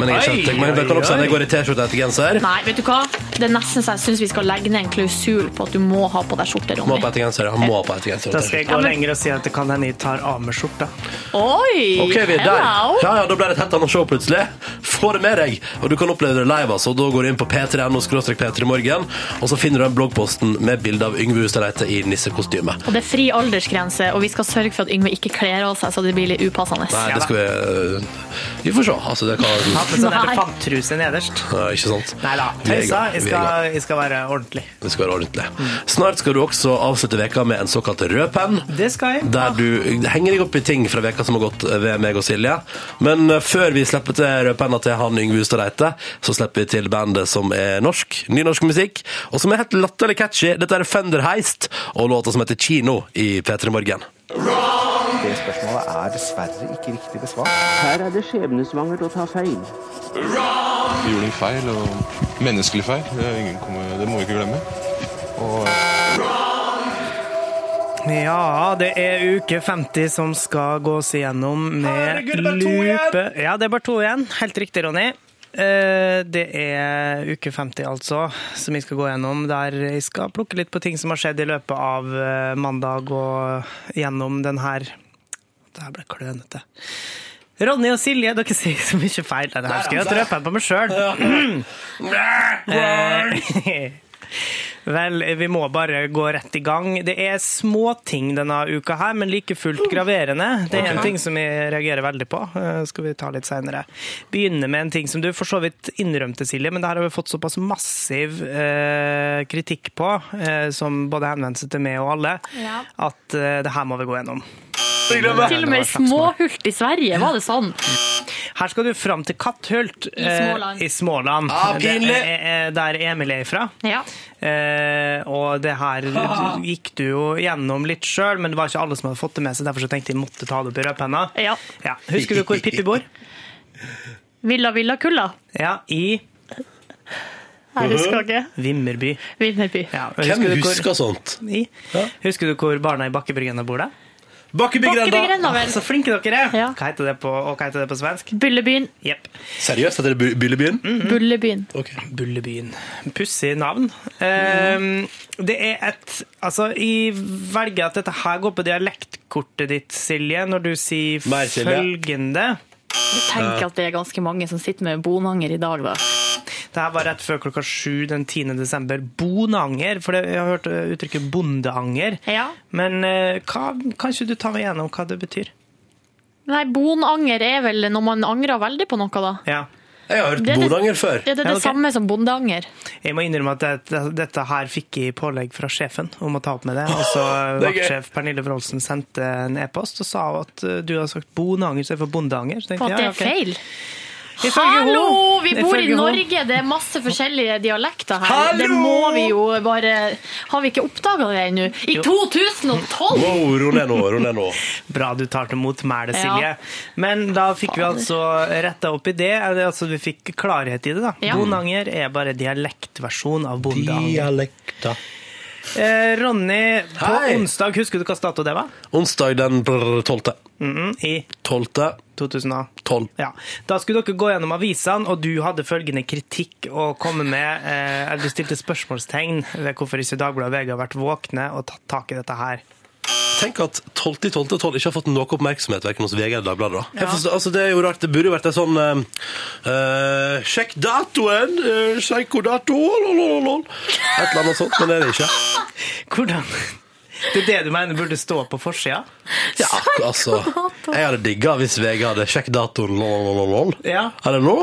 S1: Men jeg, er
S3: Oi,
S1: ikke helt- men det kan
S3: oi,
S1: også hende jeg
S3: oi.
S1: går i T-skjorte etter genser.
S2: Nei, vet du hva? Det er nesten så jeg syns vi skal legge ned en klausul på at du må ha på deg skjorte,
S1: Må ha på
S2: Ronny.
S1: ettergenser. ja. Må ha på ettergenser.
S3: Da skal jeg gå lenger og si at det kan hende jeg tar av meg skjorta.
S2: Oi!
S1: Ok, vi er der.
S2: hello.
S1: Ja, ja, da ble det et helt annet show plutselig. Få det med deg, og du kan oppleve det live. Altså. Da går du inn på p3.no p3morgen, og så finner du den bloggposten med bilde av Yngve Hustadreite i nissekostyme.
S2: Og det er fri aldersgrense, og vi skal sørge for at Yngve ikke kler av seg så det blir litt upassende.
S1: Nei, det skal vi øh, Vi får se. Altså, det kan
S3: Ha på sånn
S2: Nei.
S3: elefanttruse nederst.
S1: Nei, Ikke sant?
S3: Nei da.
S1: Vi er i
S3: Tøysa,
S1: gang,
S3: jeg
S1: vi er i gang.
S3: skal, jeg skal være ordentlig.
S1: Det skal være ordentlig. Snart skal du også avslutte veka med en såkalt rød penn.
S3: Det skal jeg.
S1: Der du henger deg opp i ting fra veka som har gått ved meg og Silje. Men eh, før vi slipper til rødpenna til han Yngve Hustad Reite, så slipper vi til bandet som er norsk. Ny norsk musikk. Og som er helt latterlig catchy. Dette er Fender Heist og låta som heter Kino i P3 Morgen.
S9: Det spørsmålet er dessverre ikke riktig besvart.
S10: Her er det skjebnesvangert å ta feil.
S9: Vi gjorde en feil, og menneskelig feil. Det, er ingen kommer, det må vi ikke glemme. Og
S3: Ja, det er uke 50 som skal gås igjennom med
S1: Herregud, det er bare to
S3: lupe. Ja, det er bare to igjen. Helt riktig, Ronny. Eh, Det er uke 50, altså, som jeg skal gå gjennom. Der jeg skal plukke litt på ting som har skjedd i løpet av eh, mandag og gjennom den her Det her ble klønete. Ronny og Silje, dere sier så mye feil. Nei, Det her skal jeg røpe på meg sjøl. Eh, Vel, vi må bare gå rett i gang. Det er småting denne uka her, men like fullt graverende. Det er en ting som jeg reagerer veldig på. eh, skal vi ta litt senere. Begynne med en ting som du for så vidt innrømte, Silje, men det her har vi fått såpass massiv eh, kritikk på, eh, som både henvendte seg til meg og alle,
S2: Ja.
S3: at eh, det her må vi gå gjennom.
S2: Til og med i småhult i Sverige var det sånn.
S3: Her skal du fram til Katthult
S2: I
S3: eh,
S2: Småland.
S3: i Småland.
S1: Ah,
S3: Det
S1: pinlig!
S3: er- er der Emil er ifra.
S2: Ja.
S3: Eh, og det her
S1: Ah.
S3: gikk du jo gjennom litt sjøl, men det var ikke alle som hadde fått det med seg. Derfor så tenkte jeg måtte ta det opp i rødpenna.
S2: Ja.
S3: Ja. Husker du hvor Pippi bor?
S2: Villa Villa Kulla.
S3: Ja, I
S2: Jeg husker ikke.
S3: Vimmerby.
S2: Mhm. Vinnerby.
S3: Ja, og
S1: Hvem
S3: husker du hvor-
S1: husker sånt?
S3: I? Husker du hvor barna i Bakkebryggene bor? da?
S2: Bakkebygrenda,
S3: Ah,
S2: vel.
S3: Så flinke dere er!
S2: Ja.
S3: Hva heter det på, og hva heter det på svensk?
S2: Bullebyen.
S3: Jepp.
S1: Seriøst, heter det Bu- Bullebyen?
S2: Mm.
S3: Mhm.
S2: Bullebyen.
S1: Ok.
S3: Bullebyen. Pussig navn. Ehm, det er et Altså, jeg velger at dette her går på dialektkortet ditt, Silje, når du sier
S1: Mer, Silje.
S3: følgende.
S2: Tenk at det er ganske mange som sitter med bonanger i dag, da.
S3: Det her var rett før klokka sju den 10. desember. Bonanger, for det, jeg har hørt eh, uttrykket bondeanger.
S2: Ja.
S3: Men eh, hva, kan ikke du ta meg gjennom hva det betyr?
S2: Nei, bonanger er vel når man angrer veldig på noe, da.
S3: Ja.
S1: Jeg har hørt
S2: Det er det-
S1: Bodanger før.
S2: Er det det
S3: Ja, ok.
S2: samme som bondeanger?
S3: Jeg må innrømme at dette, dette her fikk jeg pålegg fra sjefen om å ta opp med det. Og så
S1: Det er gøy.
S3: vaktsjef Pernille Wroldsen sendte en e-post og sa at eh, du har sagt bonanger istedenfor bondeanger. Så
S2: På
S3: tenkte
S2: at
S3: jeg,
S2: det er
S3: ja, ok.
S2: feil?
S3: Ifølge hun-
S2: Hallo! Vi bor i
S3: ifølge hun-
S2: Norge, det er masse forskjellige dialekter her.
S1: Hallo!
S2: Det må vi jo bare Har vi ikke oppdaga det ennå? I 2012!
S1: Wow, ro ned nå, ro ned nå.
S3: Bra du tar til motmæle,
S2: Ja.
S3: Silje. Men da fikk vi
S2: Fader.
S3: altså retta opp i det. Eller, Altså, vi fikk klarhet i det, da.
S2: Ja.
S3: Bonanger er bare dialektversjon av bondeanger. Eh, Ronny, på
S1: Hei.
S3: onsdag, husker du hva dato det var?
S1: Onsdag den brr, 12.
S3: Mm, I
S1: 12.
S3: 2000.
S1: 12.
S3: Ja. Da skulle dere gå gjennom avisene, og du hadde følgende kritikk å komme med. Eh, eller du stilte spørsmålstegn ved hvorfor ikke Dagbladet og VG har vært våkne og tatt tak i dette her.
S1: Tenk at 12. 12. 12 ikke har fått noe oppmerksomhet hverken hos VG eller Dagbladet. da. Jeg forstår, altså, det er jo rart. Det burde jo vært en sånn eh, eh, Sjekk datoen! eh, sjekk hvor dato lolololol. Et eller annet sånt, men det er det ikke.
S3: Hvordan Det er det du mener burde stå på forsida?
S1: Ja, altså. Jeg hadde digga hvis VG hadde sjekk datoen lolololol.
S3: Ja.
S1: Er det nå?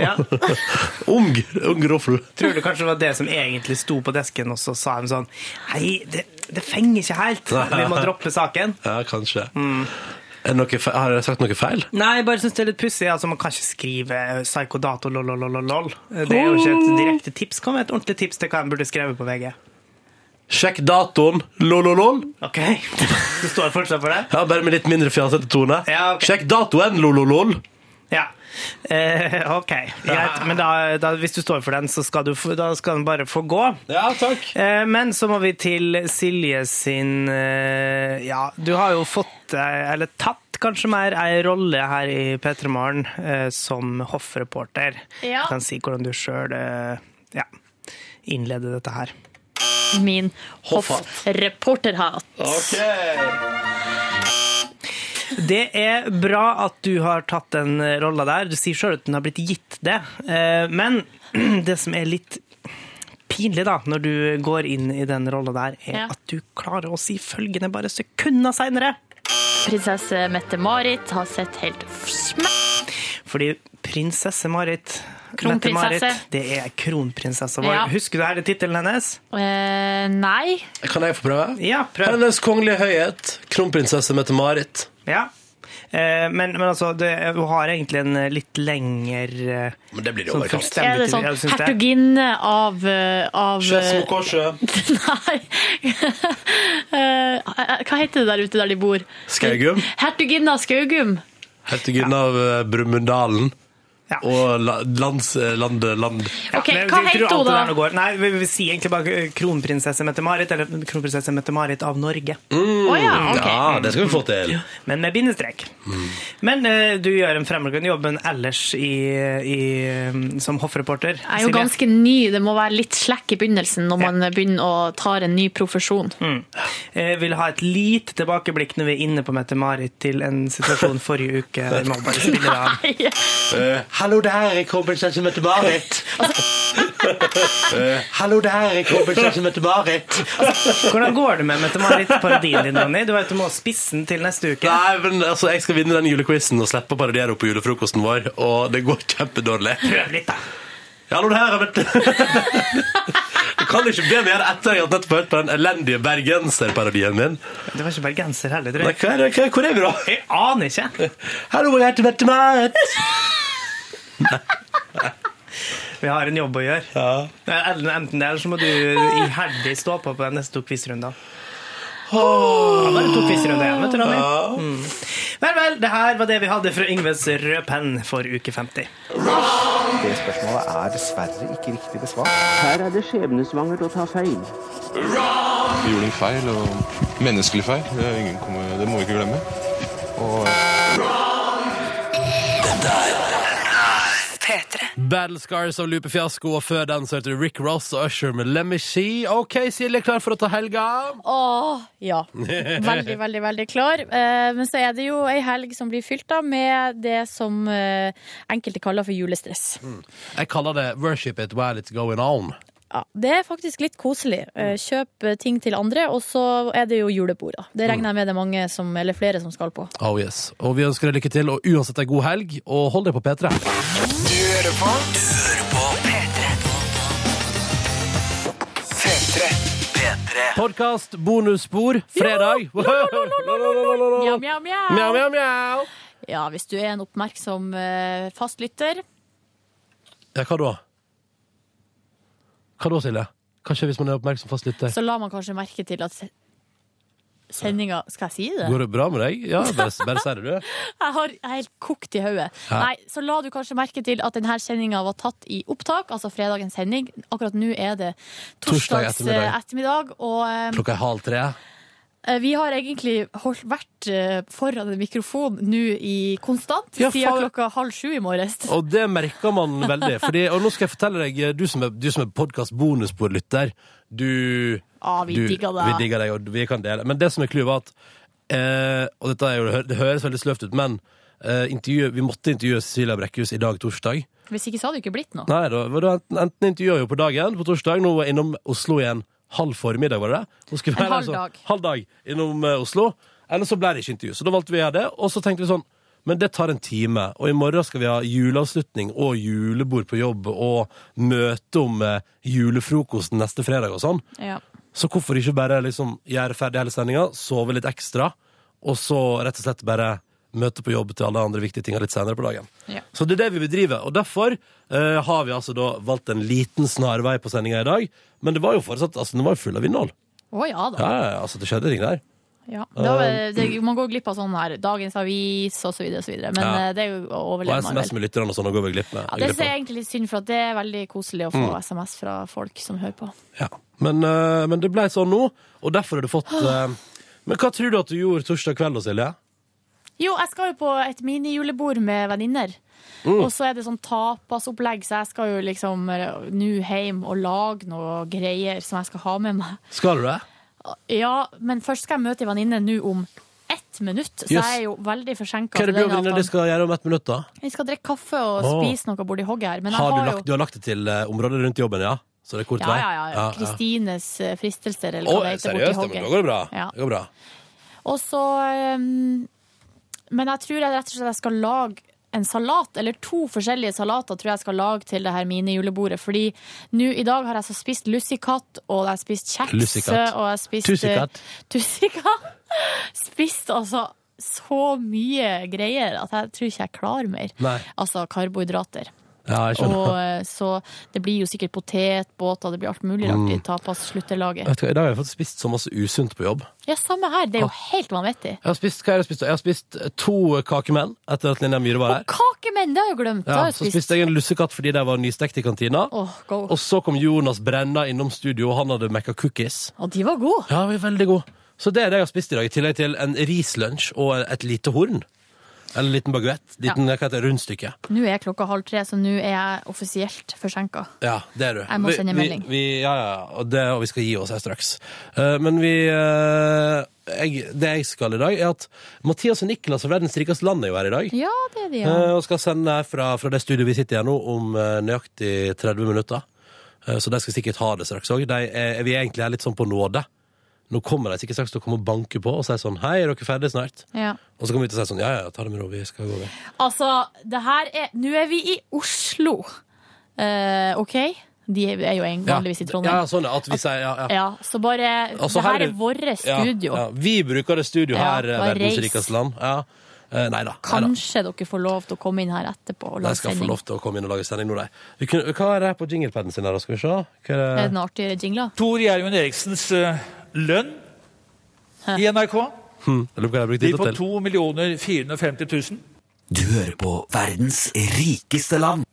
S3: Ja.
S1: ung ung roffel.
S3: Tror du kanskje det var det som egentlig sto på desken, og så sa de sånn Hei, det, det fenger ikke helt. Vi må droppe saken.
S1: Ja, kanskje.
S3: Mm.
S1: Er det noe fe- har jeg sagt noe feil?
S3: Nei, jeg bare syns det er litt pussig. Altså, man kan ikke skrive psykodato lololololol. Det er jo ikke et direkte tips. Kan være et ordentlig tips til hva en burde skrevet på VG.
S1: Sjekk datoen lololol.
S3: Ok, Du står fortsatt for det?
S1: Ja, bare med litt mindre fjasete tone.
S3: Ja, ok.
S1: Sjekk datoen lololol.
S3: Ja. Eh, ok, greit. Men da, da, hvis du står for den, så skal du, få- da skal den bare få gå.
S1: Ja, takk.
S3: Eh, Men så må vi til Silje sin eh, Ja, du har jo fått, eh, eller tatt kanskje mer, ei rolle her i P3 Morgen eh, som hoffreporter.
S2: Ja.
S3: Du kan si hvordan du sjøl ja, innleder dette her.
S2: Min hoffreporterhatt.
S3: Det er bra at du har tatt den eh, rolla der. Du sier sjøl at den har blitt gitt det. Eh, Men det som er litt pinlig da, når du går inn i den rolla der, er
S2: Ja.
S3: at du klarer å si følgende bare sekunder seinere.
S2: Prinsesse Mette-Marit har sett helt smekk
S3: Fordi prinsesse Marit
S2: Kronprinsesse.
S3: Mette-Marit, Det er kronprinsessa vår.
S2: Ja.
S3: Husker du hele tittelen hennes?
S2: eh, Nei.
S1: Kan jeg få prøve?
S3: Ja, prøv.
S1: Hennes kongelige høyhet, kronprinsesse Mette-Marit.
S3: Ja. Eh, Men, men altså, det, hun har egentlig en litt lengre eh,
S1: Men det blir jo
S3: sånn
S1: overkant.
S3: fullstendig
S2: Er det sånn
S3: tittel. Ja, du syns det?
S2: hertuginne av, eh, av eh, Nei. Eh, Hva heter det der ute der de bor?
S1: Skaugum?
S2: Hertuginne av Skaugum.
S1: Hertuginne av eh, Brumunddalen. og la- lands, eh, land, land.
S2: Ok,
S3: Men
S2: hva
S3: vi tror
S2: heter
S3: alt
S2: hun
S3: det
S2: da?
S3: der nå går- Nei, vi, vi sier egentlig bare kronprinsesse Mette-Marit, eller kronprinsesse Mette-Marit av Norge.
S2: Å ja,
S3: Mm.
S2: ok.
S1: Ja, det skal vi få til.
S3: Men med bindestrek. Men eh, du gjør en fremragende jobb enn ellers i, i, mm, som hoffreporter.
S2: Jeg er jo
S3: Silje.
S2: ganske ny, det må være litt slekk i begynnelsen når man begynner å ta en ny profesjon.
S3: Eh, vil ha et lite tilbakeblikk når vi er inne på Mette-Marit til en situasjon forrige uke. Jeg må bare spille det av.
S2: Nei.
S1: Hallo der, jeg kommer til som heter Marit. Hallo der, jeg kommer til som heter Marit.
S3: Hvordan går det med Mette-Marit-parodien din, Ronny? Du vet du må spisse den til neste uke.
S1: Nei, men altså, jeg skal vinne den julequizen og slippe å parodiere opp på julefrokosten vår, og det går kjempedårlig.
S3: Prøv litt, da.
S1: Hallo der, vet du. Du kan ikke be mer etter jeg har nettopp hørt på den elendige bergenserparodien min.
S3: Det var ikke bergenser heller, tror
S1: Nei,
S3: jeg.
S1: hva er det, hva, hvor er vi da?
S3: Jeg aner ikke.
S1: Hallo, jeg heter Mette-Marit.
S3: Vi har en jobb å gjøre. Eh, Ellen, Enten det, eller så må du iherdig stå på på den neste to quizrundene. Oh. Bare to quizrunder igjen, vet du, Ronny. Mm. Vel, vel, det her var det vi hadde fra Yngves rød penn for uke 50.
S10: Det spørsmålet er dessverre ikke riktig besvart.
S11: Her er det skjebnesvangert å ta feil.
S9: Vi gjorde en feil, og menneskelig feil. Det, er ingen kommer, det må vi ikke glemme. Og
S4: P3.
S1: Battle Scars av Lupe Fiasko, og før den så hørte du Rick Ross og Usher med Let Me See. OK, Silje, klar for å ta helga?
S2: Åh, ja. Veldig, veldig, veldig klar. Eh, Men så er det jo ei helg som blir fylt da med det som eh, enkelte kaller for julestress.
S1: Jeg kaller det Worship It While It's Going On.
S2: Ja, det er faktisk litt koselig. Eh, Kjøp eh, ting til andre, og så er det jo julebord. da. Det regner jeg med det er mange som, eller flere som skal på.
S1: Oh yes. Og vi ønsker deg lykke til, og uansett ei god helg, og hold deg på P3.
S4: Du hører på. Du hører på. P3. P3.
S1: Podkast bonusspor fredag.
S2: Mjau,
S1: Mjau,
S2: mjau,
S1: mjau,
S2: mjau.
S1: mjau.
S2: Ja, hvis du er en oppmerksom eh, fastlytter.
S1: Ja, hva da? Hva da, Silje? Hva skjer hvis man er oppmerksom fast lytter?
S2: så la man kanskje merke til at se- sendinga Skal jeg si det?
S1: Går det bra med deg? Ja, bare, bare si det, du.
S2: Jeg har jeg er helt kokt i hodet.
S1: Ja.
S2: Nei, så la du kanskje merke til at denne sendinga var tatt i opptak, altså fredagens sending. Akkurat nå er det
S1: Torsdag
S2: torsdags
S1: ettermiddag.
S2: eh, ettermiddag, og eh,
S1: Klokka er halv tre.
S2: eh, vi har egentlig holdt, vært eh, foran en mikrofon nå i konstant
S1: Ja,
S2: siden
S1: faen.
S2: klokka halv sju i morges.
S1: Og det merker man veldig. Fordi, og nå skal jeg fortelle deg, eh, du som er, du som er podkast-bonusbordlytter, du
S2: Ah, vi
S1: du-
S2: digger det.
S1: Vi digger deg, og vi kan dele. Men det som er clouet, var at eh, Og dette er jo, det høres veldig sløvt ut, men eh, intervjuet- vi måtte intervjue Cecilia Brekkhus i dag, torsdag.
S2: Hvis ikke så hadde det jo ikke blitt noe.
S1: Nei, da, var det enten, enten intervjua jo på dagen på torsdag, nå var jeg innom Oslo igjen halv formiddag, var det det? Hun skulle
S2: En
S1: være der
S2: halv
S1: sånn-
S2: dag.
S1: halv dag innom eh, Oslo. Eller så ble det ikke intervju. Så da valgte vi å gjøre det. Og så tenkte vi sånn Men det tar en time, og i morgen skal vi ha juleavslutning og julebord på jobb og møte om eh, julefrokosten neste fredag og sånn.
S2: Ja.
S1: Så hvorfor ikke bare liksom gjøre ferdig hele sendinga, sove litt ekstra, og så rett og slett bare møte på jobb til alle andre viktige ting litt senere på dagen.
S2: Ja.
S1: Så det er det vi bedriver, og derfor eh, har vi altså da valgt en liten snarvei på sendinga i dag, men det var jo fortsatt, altså den var jo full av innhold.
S2: Å ja da.
S1: Ja, ja, ja, altså det skjedde ting der.
S2: Ja. Da, eh, det, man går glipp av sånn her Dagens Avis og så videre og så videre. Men
S1: Ja.
S2: eh, det er jo å
S1: Og
S2: overleve
S1: SMS med lytterne og sånn, og går vi glipp med.
S2: Ja, det synes jeg er egentlig litt synd, for at det er veldig koselig å få
S1: Mm.
S2: SMS fra folk som hører på.
S1: Ja. Men, eh, men det ble sånn nå, og derfor har du fått... eh, men hva tror du at du gjorde torsdag kveld da, Silje?
S2: Jo, jeg skal jo på et minijulebord med venninner.
S1: Mm.
S2: Og så er det sånn tapasopplegg, så jeg skal jo liksom eh, nå hjem og lage noe greier som jeg skal ha med meg.
S1: Skal du det?
S2: Ja, men først skal jeg møte ei venninne nå om ett minutt, så
S1: Yes.
S2: jeg er jo veldig
S1: Hva
S2: forsinka.
S1: er det du og venninna di skal gjøre om ett minutt da?
S2: Vi skal drikke kaffe og
S1: Å.
S2: spise noe borti hogget her. Men jeg
S1: Har du,
S2: har
S1: lagt,
S2: jo
S1: du har lagt det til eh, området rundt jobben, ja? Så det er kort
S2: ja,
S1: vei?
S2: ja, ja. Kristines eh, fristelser, eller
S1: Å,
S2: hva det heter, borti
S1: seriøst? Ja, men
S2: hogget.
S1: Da går det bra.
S2: Ja.
S1: Det går bra.
S2: Og så um, Men jeg tror jeg rett og slett jeg skal lage en salat, eller to forskjellige salater tror jeg jeg skal lage til det her minijulebordet. Fordi nå i dag har jeg så spist lussikatt, og jeg har spist kjeks,
S1: Lussikatt.
S2: og jeg har spist
S1: Tussikatt.
S2: Tussikatt. Spist altså så mye greier at jeg tror ikke jeg klarer mer.
S1: Nei.
S2: Altså karbohydrater.
S1: Ja, jeg skjønner.
S2: Og eh, så det blir jo sikkert potetbåter, det blir alt mulig rart i tapas-sluttelaget.
S1: Vet du hva, I dag har jeg fått spist så masse usunt på jobb.
S2: Ja, samme her. Det er jo helt vanvittig.
S1: Jeg har spist, hva er det jeg har spist? Jeg har spist to kakemenn etter at Linnea Myhre var her.
S2: Hva Stakke menn, det har jeg glemt. Det
S1: Ja,
S2: har
S1: så
S2: jeg spist.
S1: spiste jeg en lussekatt fordi de var nystekt i kantina.
S2: Åh, go.
S1: Og så kom Jonas Brenna innom studio, og han hadde mekka cookies.
S2: Og de var gode.
S1: Ja, de var veldig gode. Så det er det jeg har spist i dag, i tillegg til en rislunsj og et lite horn. Eller en liten baguett. Liten, Hva heter det? Rundstykke.
S2: Nå er klokka halv tre, så nå er jeg offisielt forsinka.
S1: Ja, det er du.
S2: Jeg må
S1: Vi-
S2: sende
S1: vi,
S2: melding.
S1: Vi, ja, ja, ja, og, det, og vi skal gi oss her straks. Eh, men vi eh, jeg, Det jeg skal i dag, er at Mathias og Niklas og Verdens rikeste land er jo her i dag.
S2: Ja, det er de, ja.
S1: Eh, og skal sende her fra, fra det studioet vi sitter i her nå, om eh, nøyaktig 30 minutter. Eh, så de skal sikkert ha det straks òg. De er, vi er egentlig her litt sånn på nåde. Nå kommer de sikkert straks til å komme og banke på og si sånn Hei, er dere ferdige snart?
S2: ja.
S1: Og så kommer vi til å si sånn Ja, ja, ja, ta det med ro, vi skal gå. Vi.
S2: Altså, det her er Nå er vi i Oslo. Eh, OK? De er er jo en- vanligvis i Trondheim.
S1: Ja, ja, sånn ja, at vi sier ja, ja.
S2: Ja, så bare
S1: Altså,
S2: Det her
S1: her
S2: er vårt studio.
S1: Ja, ja. Vi bruker det studio
S2: Ja,
S1: her, eh,
S2: bare
S1: verdens
S2: reis.
S1: rikeste land. Ja. Eh, nei da. nei da.
S2: Kanskje dere får lov til å komme inn her etterpå og
S1: De
S2: lage
S1: skal få
S2: sending.
S1: lov til å komme inn og lage sending nå, de. Vi kunne- Hva er det her på jinglepaden sin her, da? Skal vi se? Hva
S2: Er
S1: er
S2: det
S1: det?
S2: noen artigere jingler?
S6: Tor Gjermund Eriksens eh, lønn i NRK
S1: Hm, jeg lurer på hva jeg har brukt
S6: blir
S1: tida
S6: på
S1: til.
S6: 2 450 000.
S12: Du hører på verdens rikeste land.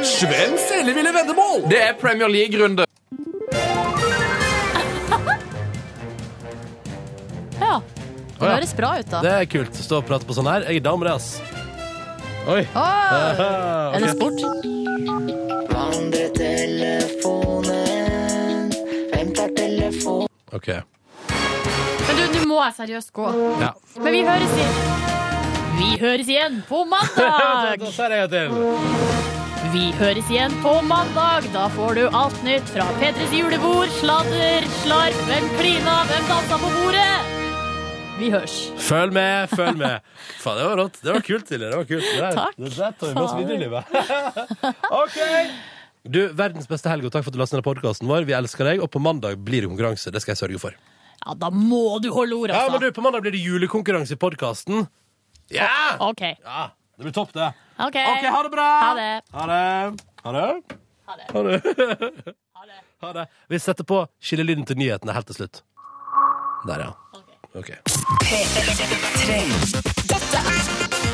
S13: Svensk elleville veddemål! Det er Premier League-runde.
S2: Ja. Det
S1: Å, ja.
S2: høres bra ut, da.
S1: Det er kult. Stå og prate på sånn her. Jeg er dame, det, ass. Oi.
S2: Åh! Er det sport?
S1: OK.
S2: Men du, nå må jeg seriøst gå.
S1: Ja.
S2: Men vi høres igjen. Vi høres igjen på mandag!
S1: Da sier jeg en til.
S2: Vi høres igjen på mandag. Da får du alt nytt fra P3s julebord, sladder, slark, hvem klina, hvem dansa på bordet? Vi hørs.
S1: Følg med, følg med. Faen, det var rått. Det var kult, Silje. Det var kult. Det der,
S2: Takk.
S1: Det der tar vi med oss videre i livet.
S6: OK!
S1: Du, verdens beste helg, og takk for at du lastet ned podkasten vår. Vi elsker deg, og på mandag blir det konkurranse. Det skal jeg sørge for.
S2: Ja, da må du holde ordet,
S1: Ja, men
S2: altså.
S1: du, på mandag blir det julekonkurranse i podkasten. Ja!
S2: OK.
S1: Ja, det blir topp, det.
S2: OK,
S1: Ok, ha det bra!
S2: Ha det.
S1: Ha det. Ha det. Ha det. Ha det. Vi setter på skillelyden til nyhetene helt til slutt. Der, ja. Ok.
S14: Dette er